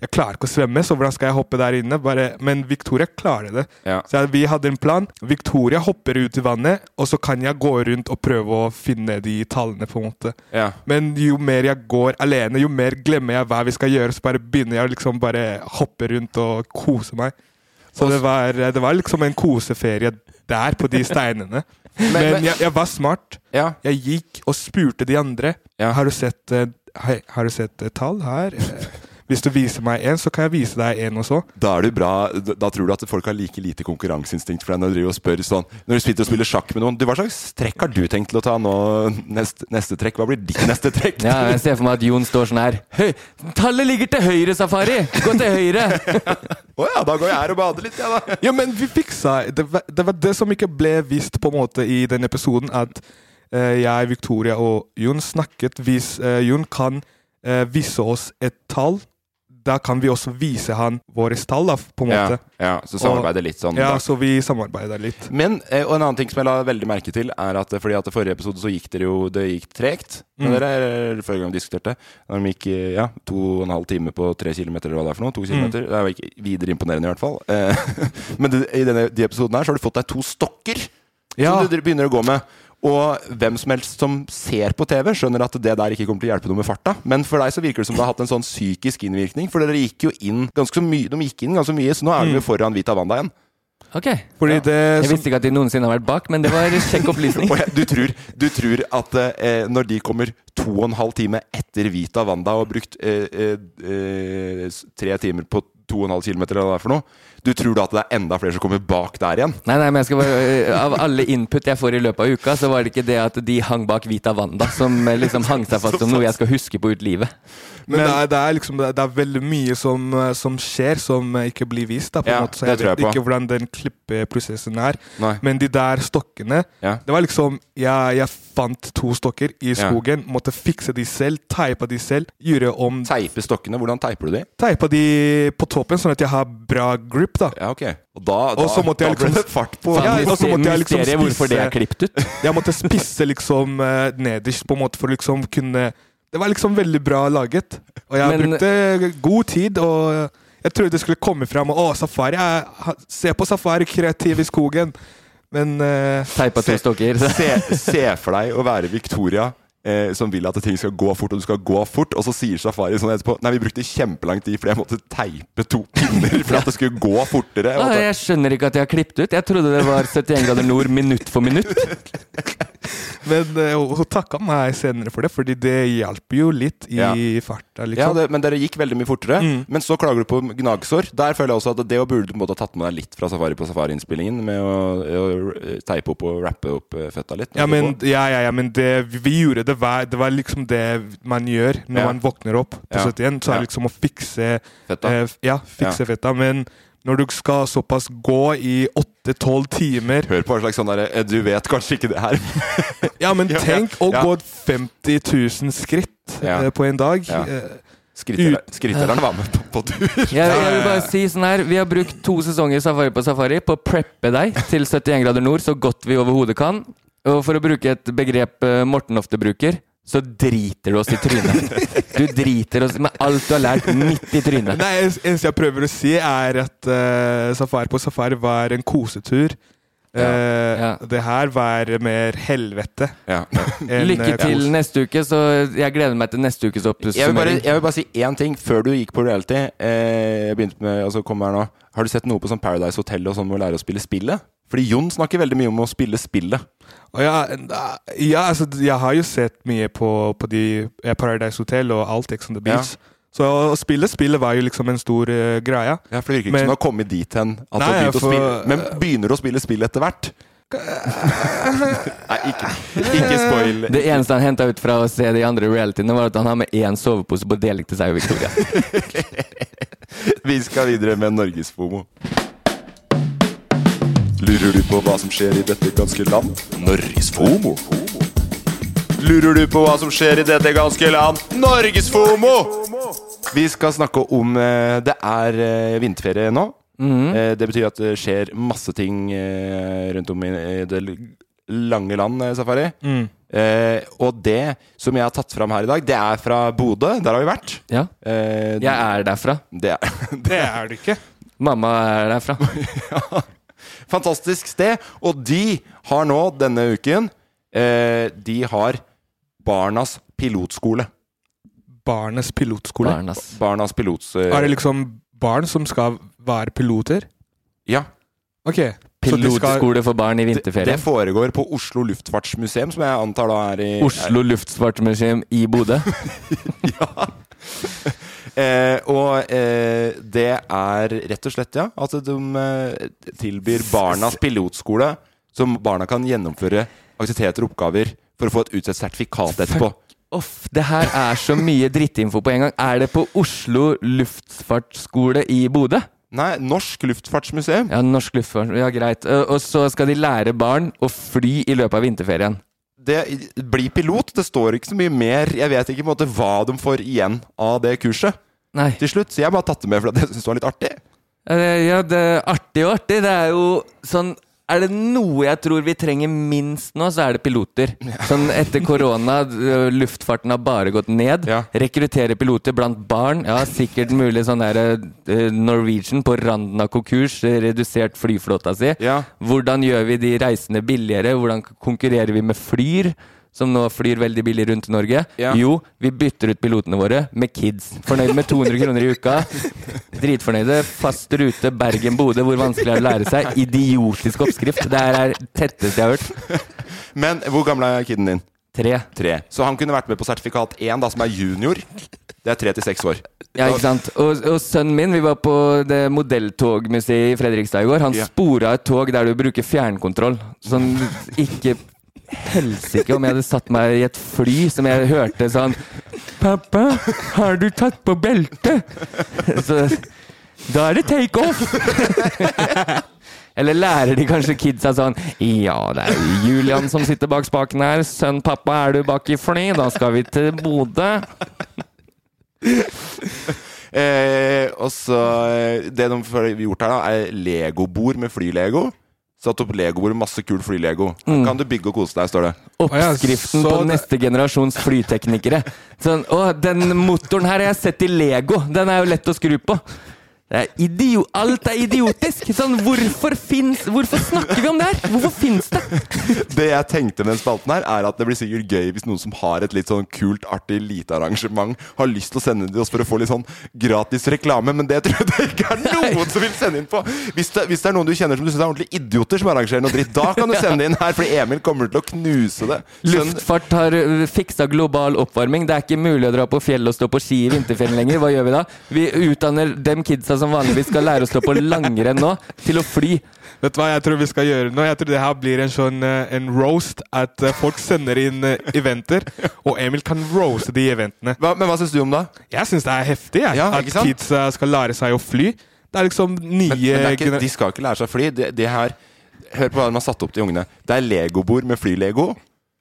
jeg klarer ikke å svømme, så hvordan skal jeg hoppe der inne? Bare, men Victoria klarer det. Ja. Så jeg- vi hadde en plan. Victoria hopper ut i vannet, og så kan jeg gå rundt og prøve å finne de tallene, på en måte. Ja. Men jo mer jeg går alene, jo mer glemmer jeg hva vi skal gjøre. Så bare begynner jeg å liksom bare hoppe rundt og kose meg. Så det var, det var liksom en koseferie der på de steinene. Men jeg, jeg var smart. Ja. Jeg gikk og spurte de andre. Ja. Har du sett, eh, hei, har du sett eh, tall her? Eh, Hvis du viser meg en, så kan jeg vise deg en også. da er du bra Da da tror du at folk har like lite konkurranseinstinkt for deg når du driver og spør sånn Når du sitter og spiller sjakk med noen du, Hva slags trekk har du tenkt til å ta nå? Neste, neste trekk? Hva blir ditt neste trekk? Ja, jeg ser for meg at Jon står sånn her. Høy, tallet ligger til høyre, Safari! Gå til høyre! Å ja, da går jeg her og bader litt, jeg, da. Ja, men vi fiksa det var, det var det som ikke ble vist på en måte i den episoden, at eh, jeg, Victoria og Jon snakket hvis eh, Jon kan eh, vise oss et tall. da kan vi også vise han våre tall, da, på en Ja, måte. ja, så samarbeider litt sånn. Ja, da. så vi samarbeider litt. Men eh, og en annen ting som jeg la veldig merke til, er at eh, fordi at i forrige episode så gikk dere jo det gikk tregt. Når Mm. dere eller forrige gang vi diskuterte. Når de gikk eh, ja, to og en halv time på tre kilometer eller hva det er for noe. Mm. To kilometer. Det er jo ikke videre imponerende i hvert fall. Eh, men det, i denne de episoden her så har du fått deg to stokker Ja. som du dere begynner å gå med. Og hvem som helst som ser på TV, skjønner at det der ikke kommer til å hjelpe noe med farta. Men for deg så virker det som det har hatt en sånn psykisk innvirkning. For dere gikk jo inn ganske så mye, de gikk inn ganske mye, så nå er de jo foran Vita Wanda igjen. Ok. Mm. Fordi det Jeg som, visste ikke at de noensinne har vært bak, men det var kjekk opplysning. Og jeg, du, tror, du tror at eh, når de kommer to og en halv time etter Vita Wanda og har brukt eh, eh, eh, s- tre timer på to og en halv kilometer eller hva det er for noe, du tror da at det er enda flere som kommer bak der igjen? Nei, nei, men jeg skal bare eh, Av alle input jeg får i løpet av uka, så var det ikke det at de hang bak Vita Wanda, som eh, liksom hang seg fast som noe jeg skal huske på ut livet. men det er, det er liksom det er, det er veldig mye som, eh, som skjer som eh, ikke blir vist, da, på Ja, en måte. Så det jeg tror jeg vet på. ikke hvordan den klippeprosessen er. Nei. Men de der stokkene Ja. Det var liksom jeg, jeg fant to stokker i Ja. skogen, måtte fikse de selv, teipa de selv, gjøre om Teipe stokkene, hvordan teiper du de? Teipa de på toppen, sånn at jeg har bra grip, da. Ja, ok. Og da, da, Og så måtte jeg da ble liksom- det fart på Ja, Faen, og så måtte jeg liksom mysteriet hvorfor det er spise- klippet ut. Jeg måtte spisse liksom eh, nederst på en måte for liksom kunne Det var liksom veldig bra laget. Og jeg Men- brukte god tid, og jeg trodde det skulle komme fram. og, Å, safari er, ha- Se på safari, kreativ i skogen. Men eh, Teipa to stokker. se, se for deg å være Victoria eh, som vil at ting skal gå fort, og du skal gå fort, og så sier Safari sånn etterpå Nei, vi brukte kjempelang tid fordi jeg måtte teipe to pinner for at det skulle gå fortere. Ah, Og at- jeg skjønner ikke at jeg har klippet ut. Jeg trodde det var 71 grader nord minutt for minutt. Men eh, hun- hun takka meg senere for det, fordi det hjalp jo litt i Ja. farta. Ja, liksom. Mm. det, men dere gikk veldig mye fortere. Men så klager du på gnagsår. Der føler jeg også at det å burde du på en måte ha tatt med deg litt fra Safari på Safari-innspillingen, med å, å teipe opp og rappe opp eh, føtta litt. Ja, men, ja, ja, ja, men det, vi gjorde det hver Det var liksom det man gjør når Ja. man våkner opp på Ja. 71. Så Ja. er det liksom å fikse Fetta. eh, ja, fikse Ja. fetta. Men når du skal såpass gå i 8-12 timer Hør på hva slags sånn derre eh, Du vet kanskje ikke det her. Ja, men Ja, ja, tenk å ja. gå 50 000 skritt Ja. eh, på en dag. Ja. Eh, Skritter- Skritteren var med på, på tur. Jeg, jeg vil bare si sånn her Vi har brukt to sesonger Safari på Safari på å preppe deg til 71 grader nord så godt vi overhodet kan. Og for å bruke et begrep eh, Morten ofte bruker, så driter du oss i trynet. Du driter oss med alt du har lært, midt i trynet. Nei, det eneste jeg prøver å si, er at eh, Safari på Safari var en kosetur. Eh, Ja. Det her var mer helvete. Ja. enn, eh, Lykke til kos. neste uke, så jeg gleder meg til neste ukes Jeg vil, bare, oppsummering. jeg vil bare si én ting før du gikk på reality. Eh, jeg begynte med, altså kom her nå Har du sett noe på sånn Paradise Hotel og sånn med å lære å spille spillet? Fordi Jon snakker veldig mye om å spille spillet. Og ja, ja, altså, jeg har jo sett mye på, på de eh, Paradise Hotel og alt Ex on the Beach. Så å spille spillet var jo liksom en stor eh, greie. Ja, for Det virker ikke Men- som du har kommet dit hen. At du har Nei, begynt å for- spille, men begynner du å spille spill etter hvert? Nei, ikke, ikke spoil. Det eneste han henta ut fra å se de andre realityene, var at han har med én sovepose på deling til seg og Victoria. Vi skal videre med Norgesfomo. Lurer du på hva som skjer i dette ganske land? Norgesfomo. Lurer du på hva som skjer i dette ganske land? Norgesfomo! Vi skal snakke om eh, Det er eh, vinterferie nå. Eh, Det betyr at det skjer masse ting eh, rundt om i i det l- lange land, eh, Safari. Eh, og det som jeg har tatt fram her i dag, det er fra Bodø. Der har vi vært. Ja, Eh, jeg er derfra. det er, Det er det ikke. Mamma er derfra. Ja. Fantastisk sted. Og de har nå, denne uken, eh, de har Barnas pilotskole. Barnets pilotskole. Barn, ass. Barnas pilots... eh, Er det liksom barn som skal være piloter? Ja. Ok. så de skal- Pilotskole for barn i Det, vinterferien. foregår på Oslo luftfartsmuseum, som jeg antar da er i Oslo Luftfartsmuseum i Bodø. Ja. Eh, og eh, det er rett og slett, ja, at de eh, tilbyr Barnas pilotskole, som barna kan gjennomføre aktiviteter og oppgaver for å få et utstedt sertifikat etterpå. Off, det her er så mye drittinfo på en gang. Er det på Oslo luftfartsskole i Bodø? Nei, Norsk luftfartsmuseum. Ja, norsk luftfart. Ja, greit. Ø, Og så skal de lære barn å fly i løpet av vinterferien. det, bli pilot. Det står ikke så mye mer. Jeg vet ikke på en måte hva de får igjen av det kurset. Nei. til slutt. Så jeg bare tatt det med fordi jeg syntes det var litt artig. Eh, Ja, det er artig og artig. Det er jo sånn Er det noe jeg tror vi trenger minst nå, så er det piloter. Sånn etter korona, d- luftfarten har bare gått ned. Ja. Rekruttere piloter blant barn. Ja, sikkert mulig sånn der eh, Norwegian på randen av konkurs, eh, redusert flyflåta si. Ja. Hvordan gjør vi de reisende billigere? Hvordan k- konkurrerer vi med Flyr? Som nå flyr veldig billig rundt i Norge. Ja. Jo, vi bytter ut pilotene våre med kids. Fornøyd med 200 kroner i uka. Dritfornøyde. Fast rute Bergen-Bodø, hvor vanskelig er det å lære seg? Idiotisk oppskrift. Det her er tetteste jeg har hørt. Men hvor gammel er kiden din? Tre. Tre. Så han kunne vært med på sertifikat én, da, som er junior. Det er tre til seks år. Ja, ikke sant? Og, og sønnen min, vi var på det modelltogmuseet i Fredrikstad i går. Han Ja. spora et tog der du bruker fjernkontroll. Sånn ikke Helsike om jeg hadde satt meg i et fly som jeg hørte sånn 'Pappa, har du tatt på beltet?' Så da er det take off! Eller lærer de kanskje kidsa sånn Ja, det er Julian som sitter bak spaken her. Sønn, pappa, er du bak i fly? Da skal vi til Bodø. Eh, og så eh, Det de har gjort her, da, er legobord med flylego. Satt opp legobord med masse kul flylego. Mm. Her Kan du bygge og kose deg, står det. Å ja, så Oppskriften på det- neste generasjons flyteknikere. Sånn, å, den motoren her har jeg sett i Lego. Den er jo lett å skru på. Det er idio Alt er idiotisk! Sånn, hvorfor fins Hvorfor snakker vi om det her? Hvorfor fins det? Det jeg tenkte med den spalten her, er at det blir sikkert gøy hvis noen som har et litt sånn kult, artig lite arrangement, har lyst til å sende det til oss for å få litt sånn gratis reklame, men det tror jeg det ikke er noen som vil sende inn på. Hvis det, hvis det er noen du kjenner som du syns er ordentlig idioter som arrangerer noe dritt, da kan du sende det inn her, fordi Emil kommer til å knuse det. Sånn- Sønn- Luftfart har ø, fiksa global oppvarming. Det er ikke mulig å dra på fjell og stå på ski i vinterferien lenger. Hva gjør vi da? Vi utdanner dem kidsa som vanligvis skal lære å stå på langrenn nå, til å fly. Vet du hva jeg tror vi skal gjøre nå? Jeg tror det her blir en sånn eh, en roast. At eh, folk sender inn eh, eventer, og Emil kan roaste de eventene. hva, men hva syns du om det? Jeg syns det er heftig jeg, Ja, at ikke sant? kidsa skal lære seg å fly. Det er liksom nye Men, men det er ikke, gener- de skal ikke lære seg å fly. Det, det her, hør på hva de har satt opp til ungene. Det er legobord med flylego.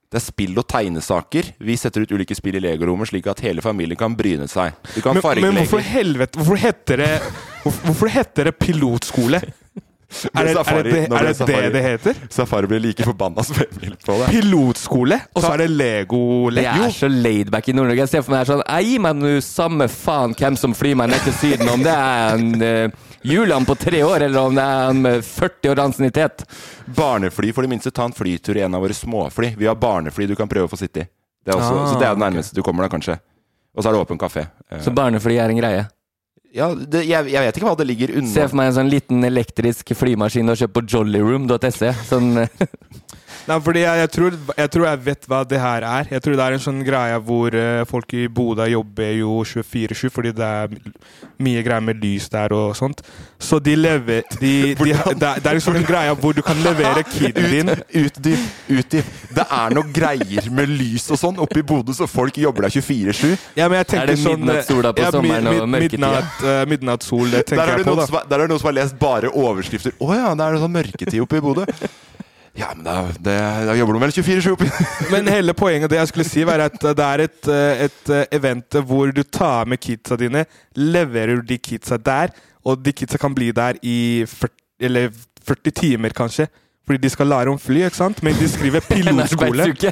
Det er spill og tegnesaker. Vi setter ut ulike spill i legorommet, slik at hele familien kan bryne seg. Du kan men, fargelegge men hvorfor helvete Hvorfor heter det hvorfor, hvorfor heter det pilotskole? Er det er det, safari. det, Nå er ble det, safari. det det heter? Safari blir like forbanna som Emil på det. Pilotskole, og så er det Det Lego-lego. er så laidback i Nord-Norge. Jeg ser for meg det er sånn «Ei, Gi meg nå samme faen hvem som flyr meg ned til Syden, om det er en eh, Julian på tre år, eller om det er en med 40 år ansiennitet. Barnefly, for det minste. Ta en flytur i en av våre småfly. Vi har barnefly du kan prøve å få sitte i. Det er også, Ah, så det er det nærmeste du kommer, da, kanskje. Og så er det åpen kafé. Eh, Så barnefly er en greie. Ja, det, jeg, jeg vet ikke hva det ligger Se unna. for meg en sånn liten elektrisk flymaskin og kjøp på jollyroom.se. Sånn, eh, Nei, fordi jeg, jeg, tror, jeg tror jeg vet hva det her er. Jeg tror det er en sånn greie hvor eh, folk i Bodø jobber jo 24-7 fordi det er mye greier med lys der og sånt. Så de lever de, de, det, er- det er liksom en greie hvor du kan levere kiden din Utdyp, utdyp. Det er noe greier med lys og sånn oppe i Bodø, så folk jobber der 24-7. ja, men jeg tenker det sånn, eh, midnattssola på ja, mi- sommeren og mi- mørketida? Midnatt, eh, midnattssol, det Der tenker er, jeg det på, noen da. som, har- der er det noen som har lest bare overskrifter. Å ja, det er sånn mørketid oppe i Bodø. Ja, men da, det, da jobber de vel 24-7 oppi Men hele poenget det jeg skulle si, var at det er et, eh, et eh, event hvor du tar med kidsa dine, leverer de kidsa der, og de kidsa kan bli der i 40, eller 40 timer, kanskje. Fordi de skal lære om fly, ikke sant? Men de skriver en pilotskole. arbeidsuke.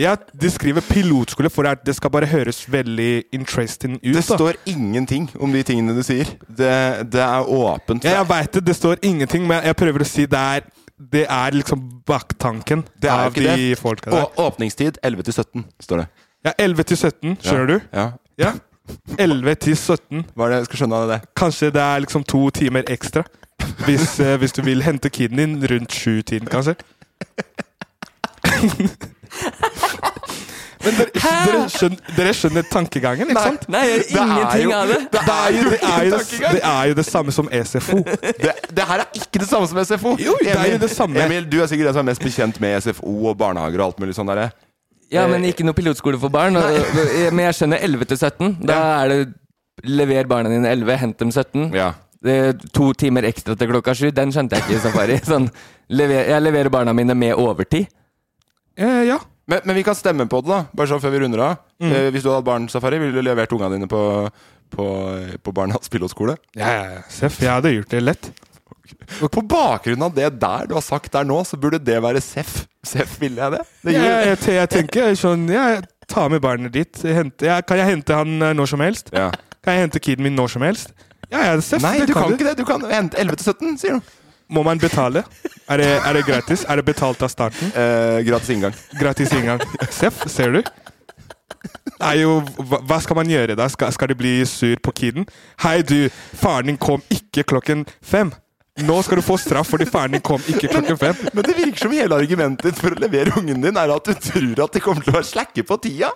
Ja, de skriver pilotskole for at det skal bare høres veldig interesting ut. Det da. står ingenting om de tingene du sier. Det, det er åpent. Ja, jeg veit det, det står ingenting, men jeg prøver å si det er, det er liksom baktanken det er jo av ikke de det. folka der. Å- åpningstid 11 til 17, står det. Ja, 11 til 17, skjønner du? Ja. Ja. 11 til 17. Hva er det jeg skal skjønne av det? Kanskje det er liksom to timer ekstra. Hvis, eh, hvis du vil hente kiden din rundt sju-tiden, kanskje. Men dere, dere, skjønner, dere skjønner tankegangen, ikke sant? Nei, jeg er gjør jo- ingenting av det. Det er, jo, det, er jo det, tankegang. det er jo det samme som E SFO. det? Det her er ikke det samme som SFO! Jo, det er jo det samme. Emil, du er sikkert den som er mest bekjent med SFO og barnehager og alt mulig sånn derre. Ja, men ikke noe pilotskole for barn. Og, men jeg skjønner 11 til 17. Da er det lever barna dine 11, hent dem 17. Ja. det, to timer ekstra til klokka sju, den skjønte jeg ikke i safari. Sånn, lever, jeg leverer barna mine med overtid. Eh, ja. Men, men vi kan stemme på det, da. Bare sånn før vi runder av. Mm. Eh, hvis du hadde hatt barnsafari, ville du levert ungene dine på, på, eh, på barnas billedskole? Ja, ja, ja. Seff, jeg hadde gjort det lett. Og på bakgrunn av det der du har sagt der nå, så burde det være Seff. Seff, ville jeg det? det Jeg, gir- jeg, te- jeg tenker sånn Jeg tar med barnet ditt. Jeg henter, jeg, kan jeg hente han eh, når som helst? Ja. Kan jeg hente kiden min når som helst? Ja, ja, Seff. Nei, det du kan du. ikke det. Du kan hente 11 til 17, sier du. Må man betale? Er det, er det gratis? Er det betalt av starten? Eh, gratis inngang. Gratis inngang. Seff, ser du? Det er jo, hva, hva skal man gjøre da? Skal, skal de bli sur på kiden? Hei du, faren din kom ikke klokken fem. Nå skal du få straff fordi faren din kom ikke klokken fem. Men det virker som hele argumentet ditt for å levere ungen din er at du tror at de kommer til å være slacke på tida.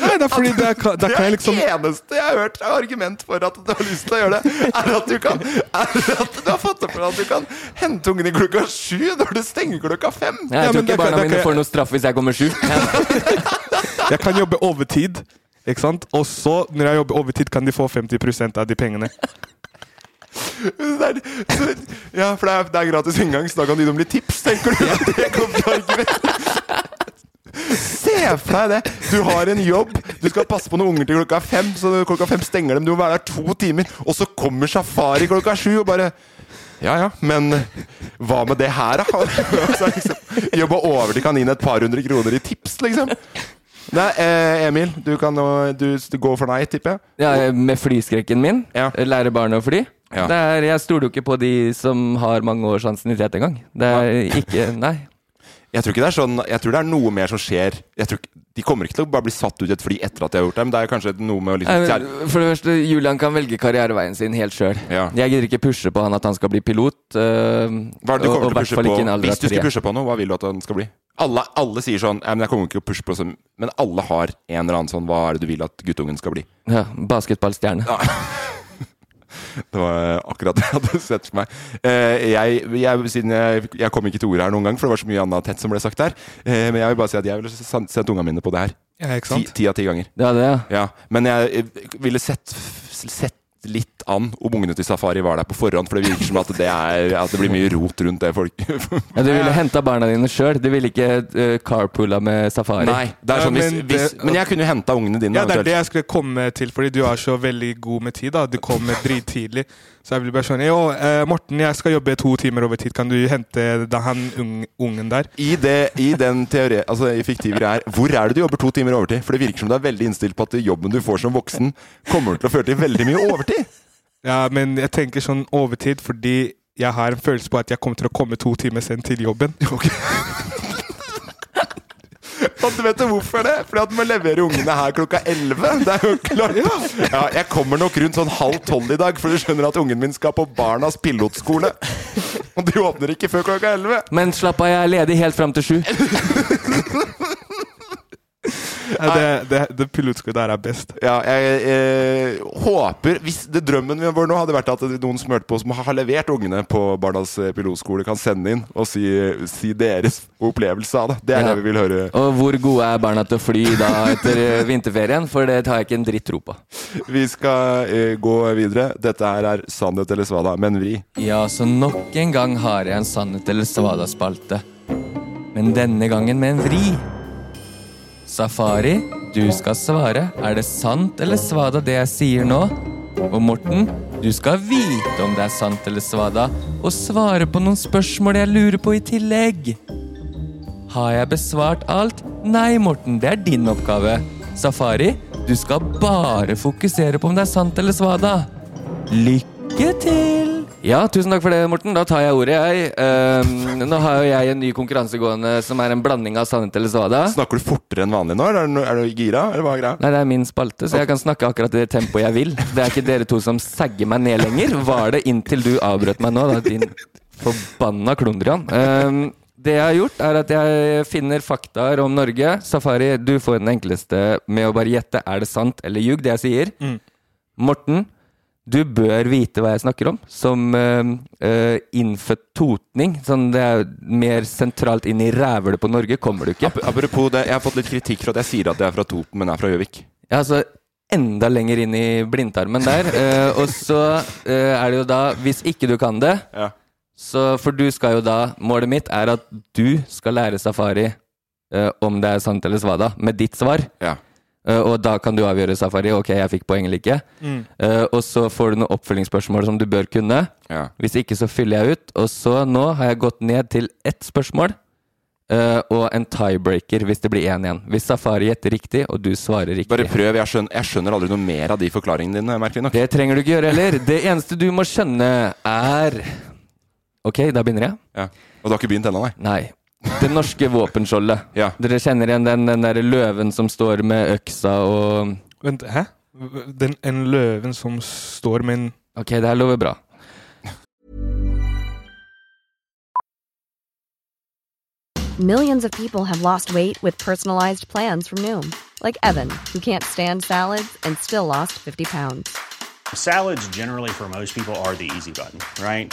Nei, det er fordi da kan- Det da er kan jeg liksom det eneste jeg har hørt av argument for at du har lyst til å gjøre det, er at du kan Er at du har fått opp at du kan hente ungen din klokka sju når du stenger klokka fem. Ja, jeg Ja, tror men ikke da kan- barna da kan mine jeg- får noe straff hvis jeg kommer sju. Jeg kan jobbe overtid, ikke sant? Og så, når jeg jobber overtid, kan de få 50 av de pengene. Det er, så, ja, for det er, det er gratis inngang, så da kan du gi dem litt tips, tenker du. Det kommer til å argument. Se for deg det! Du har en jobb, du skal passe på noen unger til klokka fem. Så klokka fem stenger dem, du må være der to timer, og så kommer safari klokka sju og bare ja ja, men hva med det her, da? Så er det liksom, Jobba over til kaninen et par hundre kroner i tips, liksom. Nei, eh, Emil, du kan nå du, du går for nei, tipper jeg. Ja, med flyskrekken min. Ja. Lære barnet å fly. Ja. Det er, jeg stoler jo ikke på de som har mange års ansiennitet engang. Det er ikke Nei. Jeg tror ikke det er sånn Jeg tror det er noe mer som skjer. Jeg tror ikke, de kommer ikke til å bare bli satt ut i et fly etter at de har gjort det, men det er kanskje noe med å Nei, liksom men For det første, Julian kan velge karriereveien sin helt sjøl. Ja. Jeg gidder ikke pushe på han at han skal bli pilot. øh, Hva er det du og- kommer og til å hvert pushe fall på? ikke i en alder Hvis av du skulle tre. pushe på noe, hva vil du at den skal bli? Alle, alle sier sånn «Nei, men 'Jeg kommer ikke til å pushe på sånn Men alle har en eller annen sånn Hva er det du vil at guttungen skal bli? Ja, Basketballstjerne. Det var eh, akkurat det jeg hadde sett for meg. Eh, jeg, jeg, siden jeg, jeg kom ikke til ordet her noen gang, for det var så mye annet tett som ble sagt der. Eh, men jeg vil bare si at jeg ville sendt sendt ungene mine på det her. Ja, ikke Ti sant? ti av ti ganger. Ja, det, ja. Ja, men jeg eh, ville sett, sett litt an om ungene til Safari var der på forhånd, for det virker som at det, er, at det blir mye rot rundt det folk ja du ville henta barna dine sjøl. Du ville ikke øh, carpoola med safari. Nei, det er sånn Ja, hvis, men hvis det- Men jeg kunne jo henta ungene dine. Ja, det er eventuelt. det jeg skulle komme til, fordi du er så veldig god med tid. da. Du kommer drittidlig. Så jeg blir bare sånn Jo, eh, Morten, jeg skal jobbe to timer over tid. Kan du hente da han ung, ungen der? I, det, I den teori, altså i fiktive er Hvor er det du jobber to timer overtid? For det virker som du er veldig innstilt på at jobben du får som voksen, kommer til å føre til veldig mye overtid. Ja, men jeg tenker sånn overtid fordi jeg har en følelse på at jeg kommer til å komme to timer sent til jobben. Og du vet jo hvorfor det? Fordi at du må levere ungene her klokka 11. Det er jo klart. Ja, jeg kommer nok rundt sånn halv tolv i dag, for du skjønner at ungen min skal på Barnas pilotskole. Og de åpner ikke før klokka 11. Men slapp av, jeg er ledig helt fram til sju. Ja, det det, det pilotskuddet der er best. Ja, jeg eh, håper Hvis det drømmen vår nå hadde vært at noen smørte på som har levert ungene på Barnas eh, pilotskole, kan sende inn og si, si deres opplevelse av det. Det er Ja. det vi vil høre. Og hvor gode er barna til å fly da etter øh, vinterferien? For det har jeg ikke en dritt tro på. Vi skal eh, gå videre. Dette her er Sannhet eller svada, men vri. Ja, så nok en gang har jeg en sannhet eller svada-spalte. Men denne gangen med en vri. Safari, du skal svare. Er det sant eller svada det jeg sier nå? Og Morten, du skal vite om det er sant eller svada, og svare på noen spørsmål jeg lurer på i tillegg. Har jeg besvart alt? Nei, Morten, det er din oppgave. Safari, du skal bare fokusere på om det er sant eller svada. Lykke til! Ja, tusen takk for det, Morten. Da tar jeg ordet, jeg. Ehm, nå har jo jeg en ny konkurranse gående som er en blanding av sannhet eller svada. Snakker du fortere enn vanlig nå? eller Er du, er du gira, eller hva er greia? Nei, det er min spalte, så jeg kan snakke akkurat i det tempoet jeg vil. Det er ikke dere to som sagger meg ned lenger. Var det inntil du avbrøt meg nå, da, din forbanna klundrian. Ehm, det jeg har gjort, er at jeg finner faktaer om Norge. Safari, du får den enkleste med å bare gjette er det sant eller ljug, det jeg sier. Morten, du bør vite hva jeg snakker om. Som uh, innfødt totning. Sånn det er mer sentralt inn i rævhølet på Norge kommer du ikke. Ap- Apropos det, jeg har fått litt kritikk for at jeg sier at jeg er fra Toten, men jeg er fra Gjøvik. Ja, altså enda lenger inn i blindtarmen der. Eh, og så eh, er det jo da, hvis ikke du kan det Ja. så For du skal jo da Målet mitt er at du skal lære safari eh, om det er sant eller svada, med ditt svar. Ja. Eh, Og da kan du avgjøre, Safari. Ok, jeg fikk poeng eller ikke. Mm. Eh, og så får du noen oppfølgingsspørsmål som du bør kunne. Ja. Hvis ikke, så fyller jeg ut. Og så nå har jeg gått ned til ett spørsmål. eh, og en tiebreaker hvis det blir én igjen. Hvis Safari gjetter riktig, og du svarer riktig. Bare prøv. Jeg skjønner, jeg skjønner aldri noe mer av de forklaringene dine, merkelig nok. Det trenger du ikke gjøre heller. Det eneste du må skjønne, er Ok, da begynner jeg. Ja. Og du har ikke begynt ennå, nei? Nei. Det norske våpenskjoldet. Ja. Dere kjenner igjen den, den der løven som står med øksa og Vent, hæ? Den, en løven som står med en Ok, det her lover bra. Millions of people have lost weight with personalized plans from Noom, like Evan, who can't stand salads and still lost 50 pounds. Salads, generally, for most people, are the easy button, right?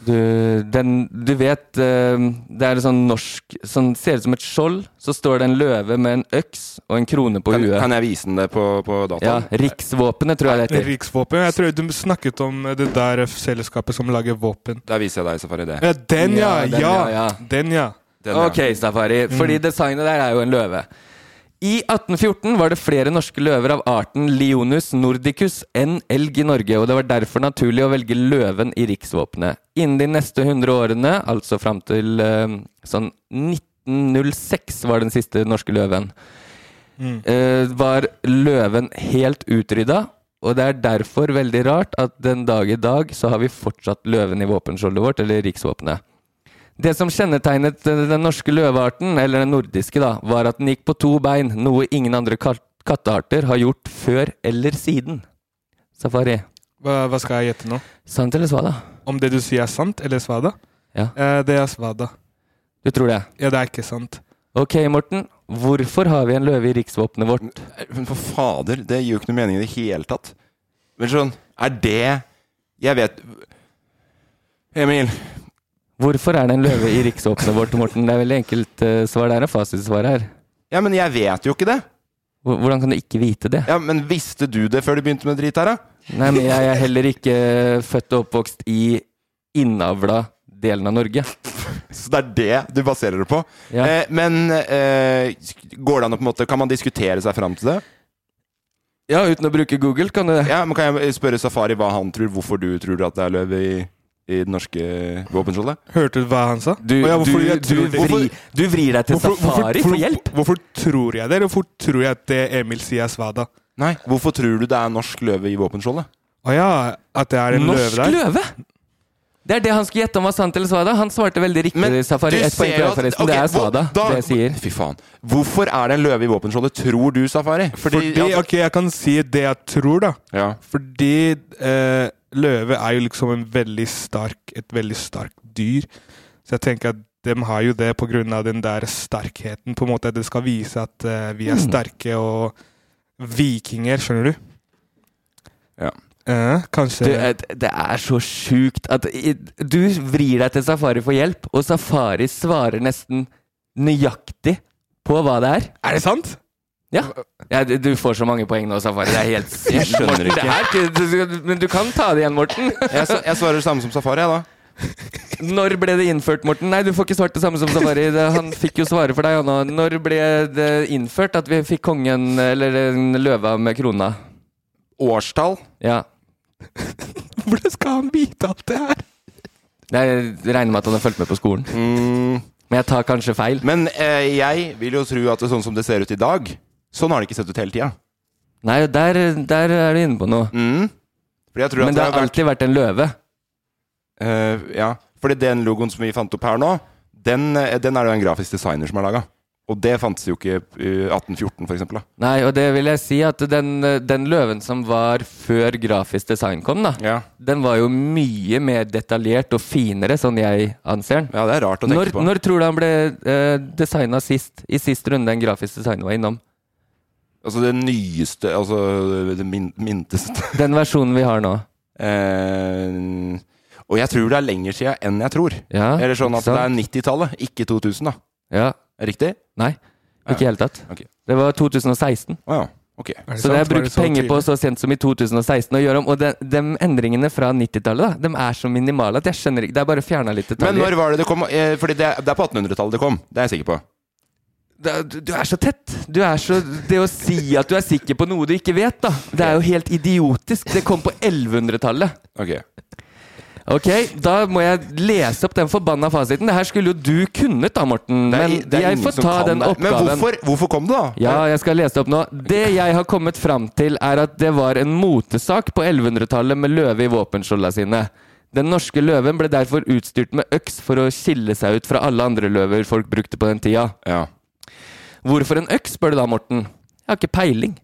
Du, den, du vet eh, Det er en sånn norsk sånn, Ser ut som et skjold. Så står det en løve med en øks og en krone på Kan, huet. kan jeg vise den det på, på ja, dataen? Riksvåpenet, tror jeg det heter. riksvåpen. Jeg tror du snakket om det der selskapet som lager våpen. Der viser jeg deg, Safari, det. Ja, den, ja! Ja, Ja, den, ja, ja. Den, ja. Den, ja. Ok, Safari. Fordi designet der er jo en løve. I 1814 var det flere norske løver av arten Leonus nordicus enn elg i Norge, og det var derfor naturlig å velge løven i riksvåpenet. Innen de neste 100 årene, altså fram til eh, sånn 1906 var den siste norske løven, eh, var løven helt utrydda. Og det er derfor veldig rart at den dag i dag så har vi fortsatt løven i våpenskjoldet vårt, eller riksvåpenet. Det som kjennetegnet eh, den norske løvearten, eller den nordiske, da, var at den gikk på to bein, noe ingen andre kat kattearter har gjort før eller siden. Safari. Hva, hva skal jeg gjette nå? Sant eller svada? Om det du sier er sant, eller svada? Ja. Eh, det er svada. Du tror det? Ja, det er ikke sant. Ok, Morten. Hvorfor har vi en løve i riksvåpenet vårt? Men for fader, det gir jo ikke noe mening i det hele tatt. Men sånn, er det Jeg vet Emil, Hvorfor er det en løve i riksvåpenet vårt, Morten? Det er veldig enkelt eh, svar. Det er en fasitsvar her. ja, men jeg vet jo ikke det. Hvor- Hvordan kan du ikke vite det? Ja, Men visste du det før du begynte med drit her, da? Nei, men jeg er heller ikke eh, født og oppvokst i innavla delen av Norge. Så det er det du baserer det på? Ja. Eh, men eh, går det an å på en måte Kan man diskutere seg fram til det? Ja, uten å bruke Google, kan du det. Ja, men Kan jeg spørre Safari hva han tror, hvorfor du tror at det er løv i, i det norske våpenskjoldet? Hørte du hva han sa? Du, Å ja, du, hvorfor jeg du, tror det- vri, du vrir deg til safari for hjelp. Hvorfor tror jeg det, eller hvorfor tror jeg at det Emil sier er svada? Nei, Hvorfor tror du det er norsk løve i våpenskjoldet? Å ja, at det er en løve Norsk der? løve! Det er det han skulle gjette om var sant eller svada. Han svarte veldig riktig. Eh, safari. du Ett poeng ser til jo deg, at- forresten. ok, det er hvor- svada, da- det jeg sier. Fy faen. Hvorfor er det en løve i våpenskjoldet, tror du, Safari? altså- Fordi, at- ok, jeg kan si det jeg tror, da. ja. Fordi eh, løve er jo liksom en veldig stark, et veldig starkt dyr. Så jeg tenker at de har jo det på grunn av den der sterkheten. På en måte at det skal vise at Mm. eh, vi er sterke og vikinger, skjønner du? Ja. Eh, kanskje Du, eh, det er så sjukt at i- du vrir deg til Safari for hjelp, og Safari svarer nesten nøyaktig på hva det er. Er det sant? Ja. ja du- du får så mange poeng nå, Safari. Det er helt Jeg skjønner Morten, det ikke. er ikke. du- du- Men du kan ta det igjen, Morten. Jeg, s- jeg svarer det samme som Safari, jeg, da. Når ble det innført, Morten? Nei, du får ikke svart det samme som Safari. Det- Han fikk jo svare for deg, han nå. Når ble det innført at vi fikk kongen, eller den løva med krona? Årstall? Ja. Hvordan skal han vite alt det her? Jeg regner med at han har fulgt med på skolen. Men jeg tar kanskje feil. Mm. Men eh, jeg vil jo tro at det, sånn som det ser ut i dag, sånn har det ikke sett ut hele tida. Nei, der, der er du inne på noe. Mm. Fordi jeg tror Men at det har alltid vært en løve. Eh, ja, fordi den logoen som vi fant opp her nå, den, eh, den er det jo en grafisk designer som har laga. Og det fantes jo ikke i 1814, for eksempel. Da. Nei, og det vil jeg si at den, den løven som var før grafisk design kom, da, den var jo mye mer detaljert og finere, sånn jeg anser den. Ja, det er rart å tenke når, på. Når tror du han ble eh, designa sist? I sist runde en grafisk designer var innom? Altså det nyeste Altså det min minteste. Den versjonen vi har nå. Eh, og jeg tror det er lenger sia enn jeg tror. Ja, Eller sånn at det ikke er sant? 90-tallet, ikke 2000, da. Ja. Riktig? Nei, ikke i det hele tatt. Ok. Det var 2016. Å ja. Ok. Så det har jeg brukt penger på så sent som i 2016 å gjøre om. Og de, de endringene fra 90-tallet, da, de er så minimale at jeg skjønner ikke Det er bare fjerna litt detaljer. Men når var det det kom? Eh, fordi det, er- det er på 1800-tallet det kom. Det er jeg sikker på. Da- Du du er så tett. Du er så, det å si at du er sikker på noe du ikke vet, da. Det er jo helt idiotisk. Det kom på 1100-tallet. Ok. Ok, da må jeg lese opp den forbanna fasiten. Det her skulle jo du kunnet da, Morten. Det er Men i- det er jeg ingen får som ta kan den det. oppgaven. Men hvorfor, hvorfor kom det, da? Ja, jeg skal lese det opp nå. Det jeg har kommet fram til, er at det var en motesak på 1100-tallet med løve i våpenskjolda sine. Den norske løven ble derfor utstyrt med øks for å skille seg ut fra alle andre løver folk brukte på den tida. Hvorfor en øks, spør du da, Morten? Jeg har ikke peiling.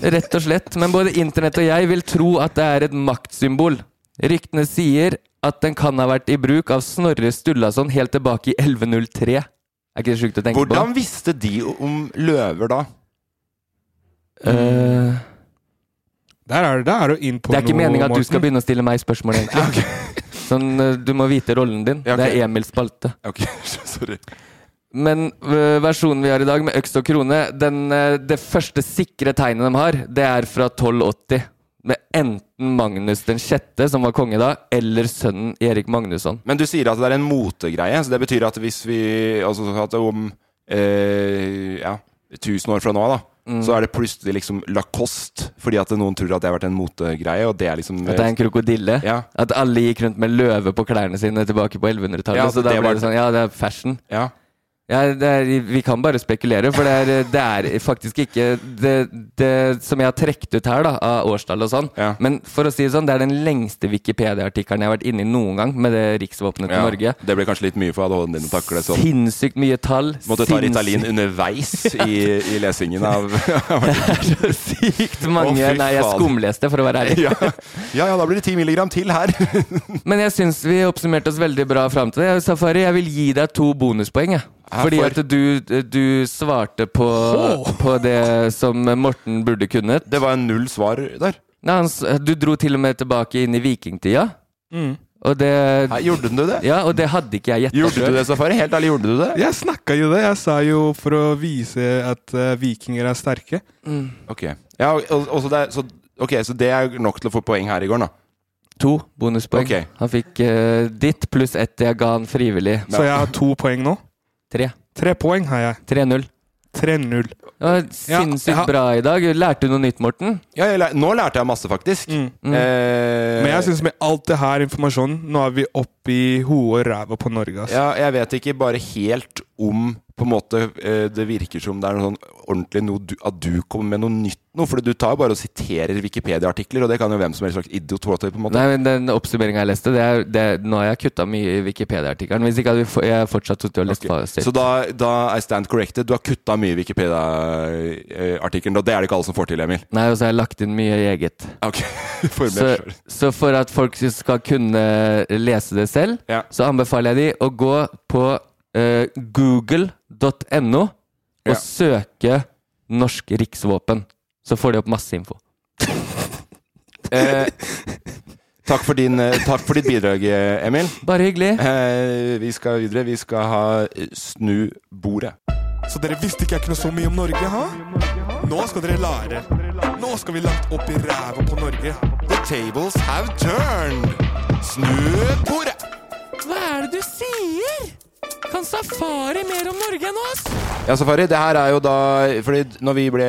Rett og slett. Men både internett og jeg vil tro at det er et maktsymbol. Ryktene sier at den kan ha vært i bruk av Snorre Stullason helt tilbake i 1103. Er ikke det sjukt å tenke på? Hvordan visste de om løver da? Eh, Der er, der er du inn på det er ikke noe, meninga at du skal Morten. begynne å stille meg spørsmål, egentlig. Sånn, eh, Du må vite rollen din. Ja, ok. Det er Emils spalte. Ok, sorry. Men eh, versjonen vi har i dag, med øks og krone den, eh, Det første sikre tegnet de har, det er fra 1280. Med enten Magnus den sjette, som var konge da, eller sønnen Erik Magnusson. Men du sier at det er en motegreie, så det betyr at hvis vi Altså at om eh, ja, 1000 år fra nå, da, Mm. så er det plutselig liksom Lacoste, fordi at noen tror at det har vært en motegreie, og det er liksom At det er en krokodille. Ja. At alle gikk rundt med løve på klærne sine tilbake på 1100-tallet. Ja, så da det ble var- det sånn Ja, det er fashion. Ja. Ja, det er, vi kan bare spekulere, for det er, det er faktisk ikke det, det som jeg har trukket ut her, da, av årstall og sånn. Men for å si det sånn, det er den lengste Wikipedia-artikkelen jeg har vært inne i noen gang, med det riksvåpenet til Ja, Norge. Det ble kanskje litt mye for ADHD-en din å takle sånn. Sinnssykt mye tall. Måtte ta Ritalin sinnssykt- underveis i, i lesingen av Sykt mange Nei, jeg skumleste, for å være ærlig. Ja. ja ja, da blir det 10 milligram til her. Men jeg syns vi oppsummerte oss veldig bra fram til det. Safari, jeg vil gi deg to bonuspoeng. Jeg. Fordi for- at du, du svarte på, på det som Morten burde kunnet. Det var null svar der. Nei, han, s- du dro til og med tilbake inn i vikingtida. Og det Mm. Hæ, gjorde du det? Ja, og det hadde ikke jeg gjetta. Gjorde du det, Safari? Helt ærlig, gjorde du det? Jeg snakka jo det. Jeg sa jo for å vise at eh, vikinger er sterke. Mm. Ok. Ja, og, og så, det er, så, ok, så det er nok til å få poeng her i går, da. To bonuspoeng. Ok. Han fikk eh, ditt pluss ett jeg ga han frivillig. Så jeg har to poeng nå. Tre. Tre poeng har jeg. 3-0. 3-0. Det var Sinnssykt ja. bra i dag. Lærte du noe nytt, Morten? Ja, jeg lær, nå lærte jeg masse, faktisk. Mm. Eh, Men jeg syns med alt det her informasjonen, nå er vi oppi hodet og ræva på Norge, altså. ass. ja, jeg vet ikke bare helt om på en måte eh, Det virker som det er noe sånn ordentlig noe du, at du kommer med noe nytt nå. For du tar jo bare og siterer Wikipedia-artikler, og det kan jo hvem som helst slags idiot få til. på en måte Nei, men Den oppsummeringa jeg leste, det er, det, nå har jeg kutta mye i Wikipedia-artikkelen. Hvis ikke hadde vi få- jeg fortsatt sittet og lest fast. Så da, da I stand corrected. Du har kutta mye i Wikipedia-artikkelen, og det er det ikke alle som får til, Emil. Nei, og så har jeg lagt inn mye i eget. Ok, for meg Så, selv. så for at folk skal kunne lese det selv, så anbefaler jeg de å gå på eh, google.no og Ja. søke norsk riksvåpen. Så får de opp masse info. Eh, Takk for, din, eh, takk for ditt bidrag, eh, Emil. Bare hyggelig. Eh, vi skal videre. Vi skal ha eh, Snu bordet. Så dere visste ikke jeg kunne så mye om Norge, ha? Nå skal dere lære. Nå skal vi langt opp i ræva på Norge. The tables have turned! Snu bordet! Hva er det du sier? Kan Safari mer om Norge enn oss? Ja, Safari, det her er jo da Fordi når vi ble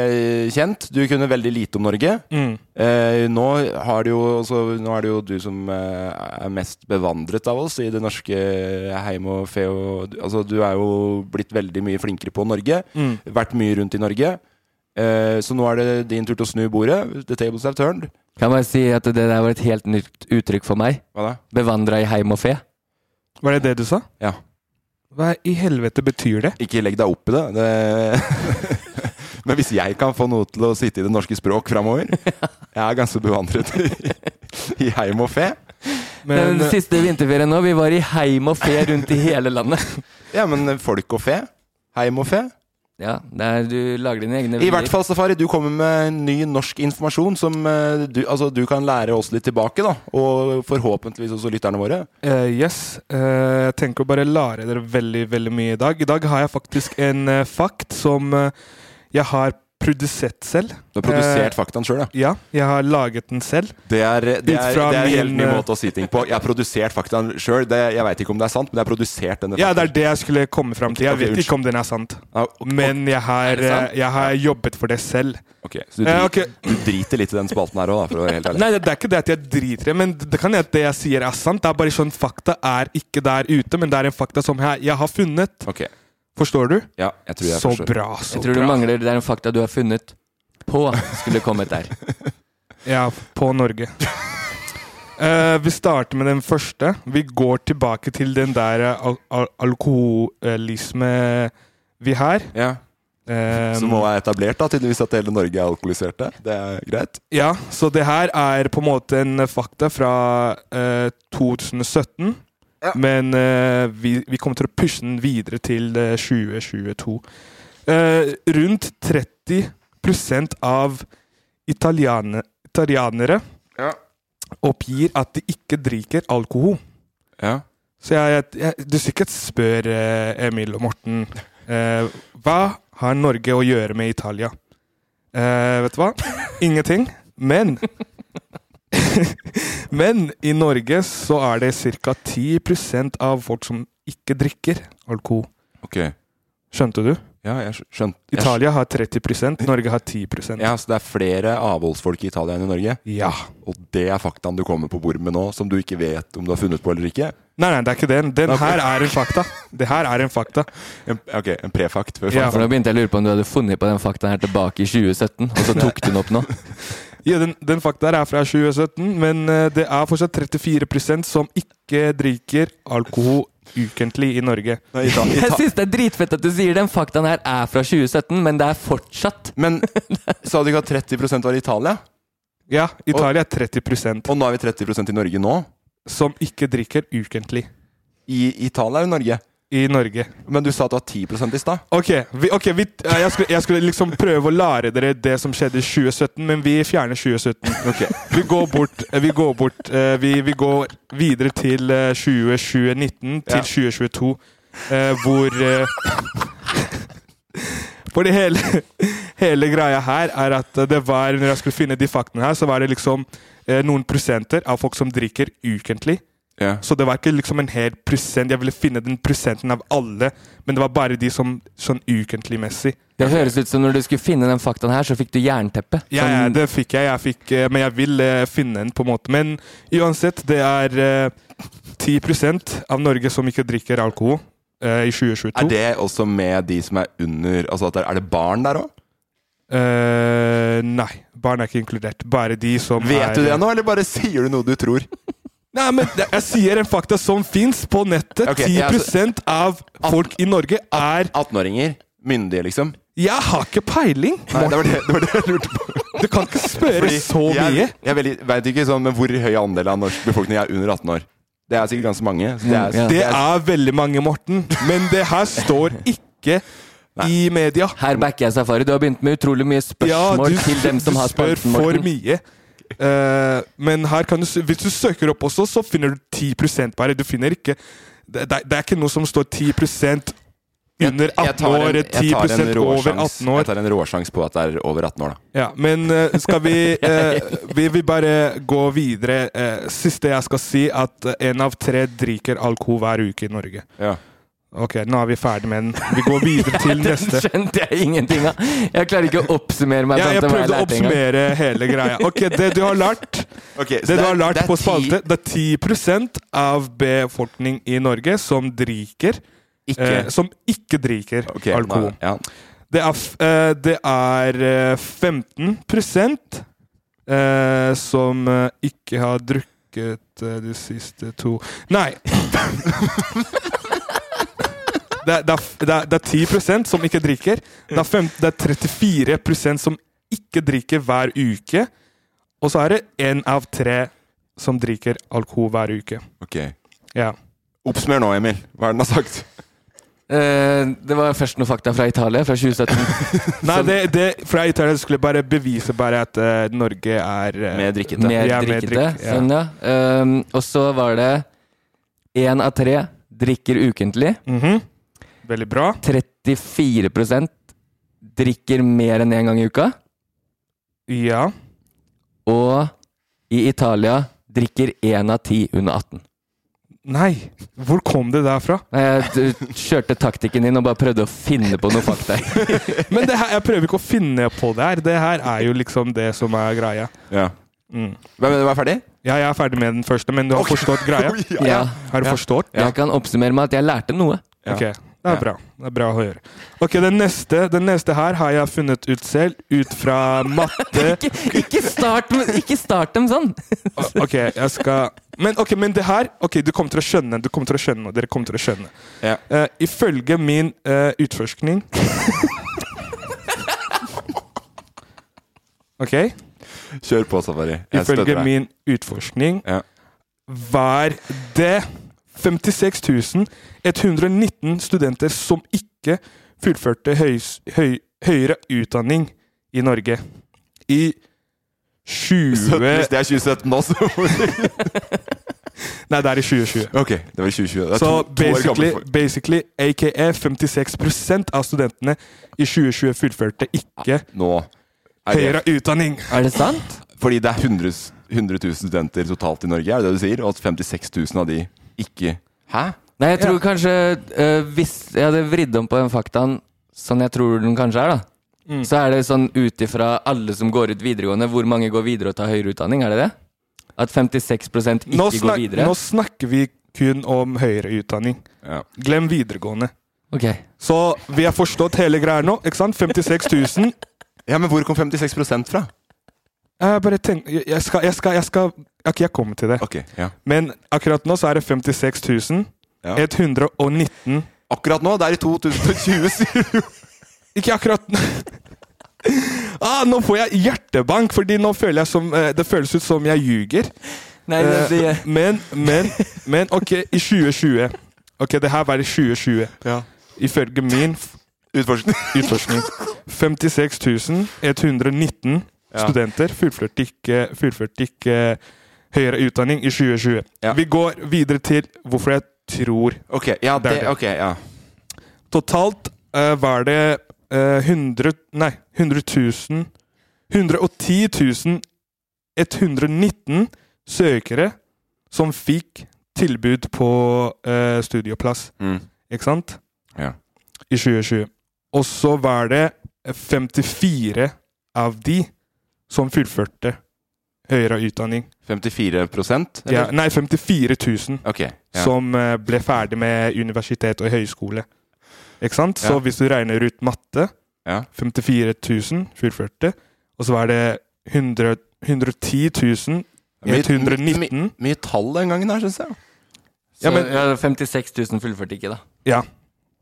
kjent Du kunne veldig lite om Norge. Mm. Eh, nå, har du jo, også- nå er det jo du som eh, er mest bevandret av oss i det norske heim og fe og du- Altså, du er jo blitt veldig mye flinkere på Norge. Mm. Vært mye rundt i Norge. Eh, så nå er det din tur til å snu bordet. The tables have turned. Kan bare si at det der var et helt nytt uttrykk for meg. Hva da? Bevandra i heim og fe. Var det det du sa? Ja. Hva i helvete betyr det? Ikke legg deg opp i det. det... Men hvis jeg kan få noe til å sitte i det norske språk framover Jeg er ganske bevandret i, i heim og fe. Den eh, eh, siste vinterferien nå, vi var i heim og fe rundt i hele landet. Ja, men folk og fe. Heim og fe. Ja, det er, du lager dine egne I hvert fall, Safari, du kommer med ny norsk informasjon som eh, du, altså, du kan lære oss litt tilbake, da. Og forhåpentligvis også lytterne våre. Eh, yes. Eh, jeg tenker å bare lære dere veldig veldig mye i dag. I dag har jeg faktisk en eh, fakt som eh, jeg har produsert selv. Du har produsert Eh, faktaen sjøl, ja. Ja, jeg har laget den selv. Det er, det, Ut er, fra det er en helt min, ny eh, måte å si ting på. Jeg har produsert faktaen sjøl. Jeg veit ikke om det er sant, men jeg har produsert denne. Ah, Ja, det er det jeg skulle komme fram til. Jeg Ok, vet unnskyld. ikke om den er sant. faktaen. Men jeg har, det sant? eh, jeg har jobbet for det selv. Ok, så du, Eh, dri- ok. du driter litt i den spalten her òg, da, for å være helt ærlig. Nei, det det er ikke det at jeg driter i det, men det kan hende at det jeg sier er sant. Det er bare sånn fakta er ikke der ute, men det er en fakta som jeg, jeg har funnet. Forstår du? Ja, jeg tror jeg så forstår. bra, så Jeg tror du bra. mangler Det er en fakta du har funnet på, skulle kommet der. Ja, på Norge. Eh, vi starter med den første. Vi går tilbake til den der eh, al al alkoholisme vi har. Ja. Eh, Som nå er etablert, da, tydeligvis at hele Norge er alkoholiserte. Det er greit. Ja, så det her er på en måte en eh, fakta fra eh, 2017. Men eh, vi, vi kommer til å pushe den videre til eh, 2022. Eh, rundt 30 av italiane, italianere Ja. oppgir at de ikke drikker alkohol. Ja. Så jeg, jeg, du sikkert spør eh, Emil og Morten eh, Hva har Norge å gjøre med Italia? Eh, vet du hva? Ingenting. Men Men i Norge så er det ca. 10 av folk som ikke drikker alkohol. Ok. Skjønte du? Ja, jeg skj- skjønte. Jeg skj- Italia har 30 Norge har 10 Ja, så det er flere avholdsfolk i Italia enn i Norge? Ja. Og det er faktaen du kommer på bordet med nå, som du ikke vet om du har funnet på eller ikke? Nei, nei, det er ikke den. Den Nei, ok. her er en fakta. Det her er en fakta. En, ok, en prefakt. før For nå fakta. begynte jeg å lure på om du hadde funnet på den faktaen her tilbake i 2017, og så tok du den opp nå. Ja, den, den fakta her er fra 2017, men eh, det er fortsatt 34 som ikke drikker alkohol ukentlig i Norge. Nei, Ita- Jeg Ita- syns det er dritfett at du sier den faktaen her er fra 2017, men det er fortsatt Men sa du ikke at 30 var i Italia? Ja, Italia er 30 Og nå er vi 30 i Norge nå? som ikke drikker ukentlig I Italia eller Norge? i Norge. Men du sa at det var 10 i stad? Ok, vi, ok, vi, eh, jeg, skulle, jeg skulle liksom prøve å lære dere det som skjedde i 2017, men vi fjerner 2017. Ok. Vi går bort, eh, vi går, bort eh, vi, vi går videre til eh, 20, 2019 til Ja. 2022, eh, hvor eh, For det hele, hele greia her er at det var Når jeg skulle finne de faktene her, så var det liksom eh, noen prosenter av folk som drikker ukentlig. Ja. Så det var ikke liksom en hel prosent. Jeg ville finne den prosenten av alle, men det var bare de som sånn ukentlig-messig. Det høres ut som når du skulle finne den faktaen her, så fikk du jernteppe. Sånn Ja, ja, det fikk jeg. jeg fikk, eh, men jeg vil eh, finne en, på en måte. Men uansett, det er eh, 10 av Norge som ikke drikker alkohol eh, i 2022. Er det også med de som er under Altså, at det er- er det barn der òg? Eh, nei. Barn er ikke inkludert. Bare de som er Vet du det nå, eller bare sier du noe du tror? Nei, men det- jeg sier en fakta som fins på nettet. Ok, ja, altså- 10 av folk i Norge er 18-åringer? Myndige, liksom? Jeg har ikke peiling! Nei, det var det, det var det jeg lurte på. Du kan ikke spørre Fordi så mye. Jeg, jeg veldig- vet ikke sånn, men hvor høy andel av norsk befolkning er under 18 år. Det er sikkert ganske mange. Så det, er, Det er veldig mange, Morten, men det her står ikke i media. Her backer jeg Safari. Du har begynt med utrolig mye Ja, spørsmål du, til dem som du har spør spalten, for Morten. mye. Eh, men her kan du, s- hvis du søker opp også, så finner du 10 bare. Du finner ikke det, det, det er ikke noe som står 10 under 18 år, 10 over 18 år. Jeg tar en råsjans på at det er over 18 år, da. Ja, men eh, skal vi eh, Vi vil bare gå videre. Eh, siste jeg skal si, at én av tre drikker alkohol hver uke i Norge. Ok, nå er vi ferdig med den. Vi går videre til Den neste. skjønte jeg ingenting av. Jeg klarer ikke å oppsummere meg. Ja, jeg sånn som prøvde å lærte en gang. oppsummere hele greia. Ok, Det du har lært så det Det du er- har lært det er på ti- spalte, det er 10 av befolkning i Norge som drikker Ikke. eh, Som ikke drikker Ok, alkohol. nei, ja. Det er, f- eh, det er eh, 15 eh, som eh, ikke har drukket eh, de siste to Nei! Det er, det, er, f- det, er, det er 10 som ikke drikker. Det er, fem, det er 34 som ikke drikker hver uke. Og så er det én av tre som drikker alkohol hver uke. Ok. Ja. Oppsummer nå, Emil. Hva er det den har sagt? Eh, det var først noen fakta fra Italia, fra 2017. Nei, det, det, for jeg uttaler, skulle bare bevise bare at eh, Norge er eh, Mer drikkete. Mer vi er drikkete. drikk- ja. Sånn, ja. Ehm, og så var det én av tre drikker ukentlig. Veldig bra. 34 drikker mer enn én gang i uka. Ja. Og i Italia drikker én av ti under 18. Nei! Hvor kom det der fra? Nei, Jeg d- kjørte taktikken din og bare prøvde å finne på noe fakta. Men det her, jeg prøver ikke å finne på det her. Det her er jo liksom det som er greia. Ja. Mm. Hvem er det, du er ferdig? Ja, jeg er ferdig med den første, men du har forstått greia? Ja. Har du Ja. forstått? Jeg kan oppsummere med at jeg lærte noe. Ok, det er bra. Det er bra å høre. Ok, den neste, den neste her har jeg funnet ut selv, ut fra matte Ikke, ikke, start, med- ikke start dem sånn! Ok, jeg skal Men, ok, men det her Ok, du kommer til å skjønne, du kommer til å skjønne, og dere kommer til å skjønne. Ja. Eh, ifølge min eh, utforskning Ok? Kjør på, Safari. Jeg støtter Ifølge deg. min utforskning Ja. var det 56.119 studenter som ikke fullførte høys, høy, høyere utdanning i Norge i 20 Så Hvis det er 2017 nå, så Nei, det er i 2020. Ok, det var i 2020. Det er Så to, to år basically, gammelt folk. basically aka 56 av studentene i 2020 fullførte ikke Nå er det høyere utdanning. Er det sant? Fordi det er 100, s- 100 000 studenter totalt i Norge, er det det du sier? Og at 56 000 av de ikke Hæ? Nei, jeg tror kanskje eh, Hvis jeg hadde vridd om på den faktaen sånn jeg tror den kanskje er, da, Mm. så er det sånn ut ifra alle som går ut videregående, hvor mange går videre og tar høyere utdanning, er det det? At 56 ikke Nå, går snak videre? nå snakker vi kun om høyere utdanning. Ja. Glem videregående. Ok. Så vi har forstått hele greia nå, ikke sant? 56 000. ja, men hvor kom 56 fra? Jeg bare tenk, jeg- jeg skal, jeg skal, jeg skal Ok, jeg kommer til det. Ok, ja. Men akkurat nå så er det 56 000. Ja. 119 Akkurat nå, det er i 2020, sier du. Ikke akkurat ah, Nå får jeg hjertebank, fordi nå føler jeg som eh, Det føles ut som jeg ljuger. Nei, det, Eh, det, Men, men, men Ok, i 2020 Ok, det her var i 2020 Ja. Ifølge min f- Utforskning. utforskning 56.119 Ja. studenter fullførte ikke, fullførte ikke høyere utdanning i 2020 Ja. Vi går videre til hvorfor jeg tror Ok, ja, Det er det, det. ok, ja. Totalt eh, var det eh, 100 Nei, 100 000 110 119 søkere som fikk tilbud på eh, studieplass, Mm. ikke sant? Ja. I 2020. Og så var det 54 av de som fullførte høyere utdanning. 54 Ja, eller? nei, 54 000 Ok. Ja. som eh, ble ferdig med universitet og høyskole. Ikke sant? Så Ja. hvis du regner ut matte Ja. 54 000 fullførte, og så var det 100, 110 000 119 Mye tall den gangen her, syns jeg. så, Ja, men- ja, 56 000 fullførte ikke, da. Ja.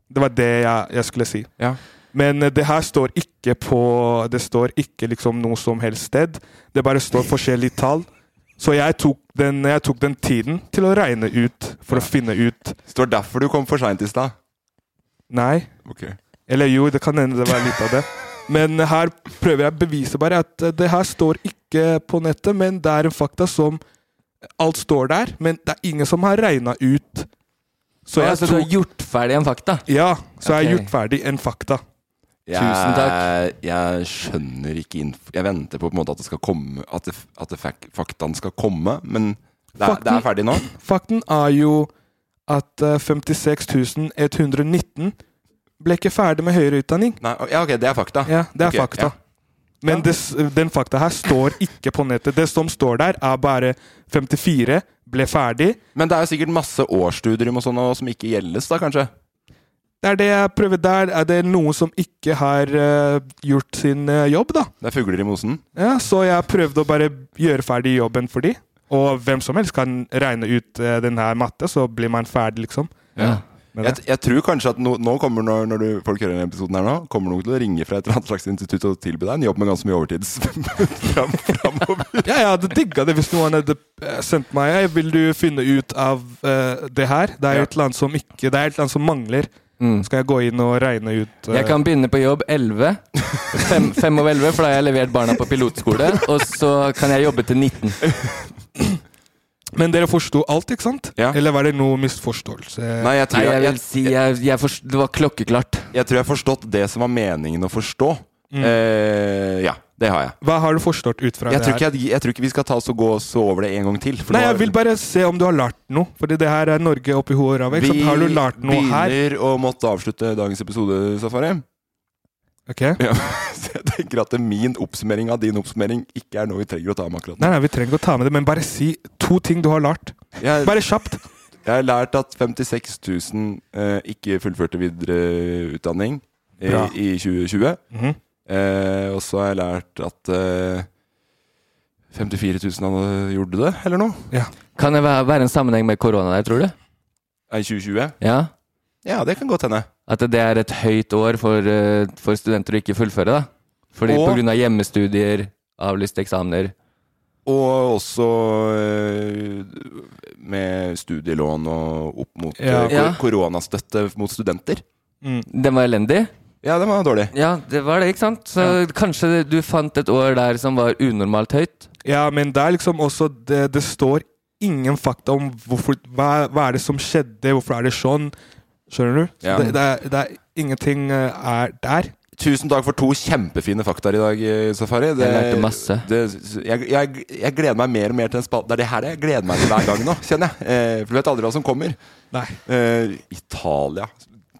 Det var det jeg, jeg skulle si. Ja. Men eh, det her står ikke på Det står ikke liksom noe som helst sted. Det bare står forskjellige tall. Så jeg tok, den, jeg tok den tiden til å regne ut, for å finne ut Står derfor du kom for seint i stad. Nei. Ok. Eller jo, det kan hende det var litt av det. Men her prøver jeg å bevise bare at eh, det her står ikke ikke på nettet, men det er en fakta som Alt står der, men det er ingen som har regna ut. Så, Ah, så du har gjort ferdig en fakta? Ja, så jeg har Ok. gjort ferdig en fakta. Jeg, Tusen takk. Jeg skjønner ikke inf Jeg venter på, på en måte at det skal komme At, det, at det fak faktaen skal komme, men det er, det er ferdig nå. Fakten er jo at eh, 56 119 ble ikke ferdig med høyere utdanning. Nei, ja, ok, det er fakta. Ja, det er Ok, fakta. Men det s- den fakta her står ikke på nettet. Det som står der, er bare 54 ble ferdig. Men det er jo sikkert masse årsstudium og sånn og som ikke gjeldes, da, kanskje? Det er det jeg prøver der. Er det noen som ikke har eh, gjort sin eh, jobb, da? Det er fugler i mosen. Ja, så jeg prøvde å bare gjøre ferdig jobben for de. Og hvem som helst kan regne ut eh, den her matte, så blir man ferdig, liksom. Ja. Men Jeg, jeg tror kanskje at no, nå kommer når, når du, folk hører denne episoden her nå, kommer noen til å ringe fra et eller annet slags institutt og tilby deg en jobb med ganske mye overtids. eh, Ja, jeg hadde digga det hvis noen hadde eh, sendt meg «Hei, Vil du finne ut av eh, det her? Det er Ja. et eller annet som ikke Det er et eller annet som mangler. Mm. Skal jeg gå inn og regne ut eh, Jeg kan begynne på jobb 11. Fem, fem over 11, for da har jeg levert barna på pilotskole. Og så kan jeg jobbe til 19. Men dere forsto alt, ikke sant? Eller var det noe misforståelse? Nei, jeg tror jeg- jeg- jeg, Det var klokkeklart. Jeg tror jeg har forstått det som var meningen å forstå. Mm. Eh, ja, det har jeg. Hva har du forstått ut fra Jeg det tror, her? ikke, jeg, jeg tror ikke vi skal ta oss og gå så over det en gang til. for Nei, nå jeg vil bare se om du har lært noe. Fordi det her er Norge oppi hodet av. ikke sant? Har du lært noe her? begynner å måtte avslutte dagens episode, Safari. Ok. Ja, så jeg tenker at min oppsummering av din oppsummering ikke er noe vi trenger å ta med akkurat Nei, nei, vi trenger ikke å ta med det, men bare si to ting du har lært. Jeg, Bare kjapt. jeg har lært at 56 000 eh, ikke fullførte videre utdanning i, Bra. i 2020. Mhm. eh, og så har jeg lært at eh, 54 000 hadde gjorde det, eller noe? Kan det være være en sammenheng med korona der, tror du? Eh, I 2020. Ja? Ja, det kan godt hende. At det er et høyt år for, eh, for studenter å ikke fullføre, da? Fordi Og- på grunn av hjemmestudier, avlyste eksamener Og også eh, med studielån og opp mot eh, Ja. kor- Ja. koronastøtte mot studenter. Mm. Den var elendig? Ja, den var dårlig. Ja, det var det, ikke sant? Så kanskje du fant et år der som var unormalt høyt? Ja, men det er liksom også Det, det står ingen fakta om hvorfor, hva, hva er det som skjedde, hvorfor er det sånn. Skjønner du? Så Ja. Det, det, er, det er ingenting eh, er der. Tusen takk for to kjempefine faktaer i dag, eh, Safari. Det, Jeg lærte masse. Det, jeg, jeg, jeg gleder meg mer og mer til en spalte. Det er det her jeg gleder meg til hver gang nå, kjenner jeg. Eh, for du vet aldri hva som kommer. Nei. Eh, Italia.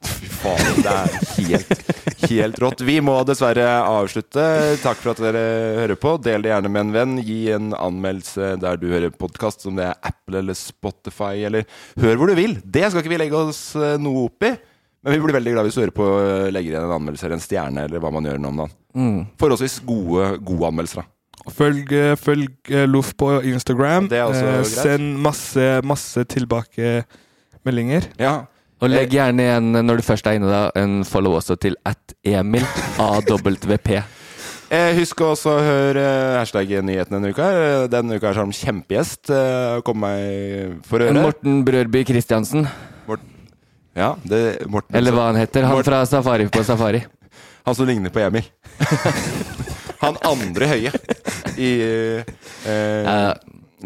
Fy faen, det er helt, helt rått. Vi må dessverre avslutte. Takk for at dere hører på. Del det gjerne med en venn. Gi en anmeldelse der du hører podkast, om det er Apple eller Spotify, eller hør hvor du vil. Det skal ikke vi legge oss eh, noe opp i. Men vi blir veldig glad hvis du hører på eh, legger igjen en anmeldelse eller en stjerne, eller hva man gjør nå om dagen. Mm. Forholdsvis gode, gode anmeldelser, da. Følg, eh, følg eh, Loff på Instagram. Eh, Det er også greit. send masse, masse tilbakemeldinger. Ja. Og legg gjerne igjen, når du først er inne, da, en follow også til at Emil AWP. Eh, husk også å høre eh, hashtag nyhetene denne uka. Eh, Denne uka er Sjarm kjempegjest. Eh, kom meg for øre. Morten Brørby Christiansen, Ja, det, Morten eller hva han heter. Han Morten- fra Safari på Safari. Han som ligner på Emil. han andre høye i eh, Ja,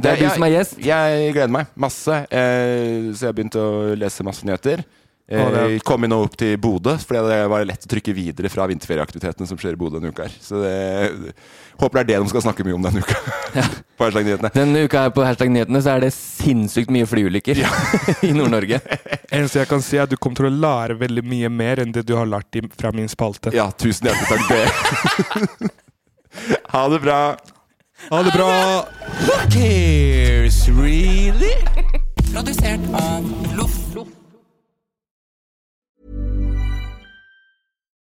det er du jeg- som er gjest. Jeg gleder meg masse. Eh, så jeg begynte å lese masse nyheter. Å, Eh, det kom jo nå opp til Bodø, for det var lett å trykke videre fra vinterferieaktivitetene som skjer i Bodø denne uka. her Så det, håper det er det de skal snakke mye om denne uka. på hashtag nyhetene. Denne uka her på hashtag nyhetene så er det sinnssykt mye flyulykker i Nord-Norge. Eneste jeg kan si, er at du kommer til å lære veldig mye mer enn det du har lært i, fra min spalte. Ja, tusen hjertelig takk. Det. ha det bra. Ha det bra! Who cares, really? Produsert av Loff.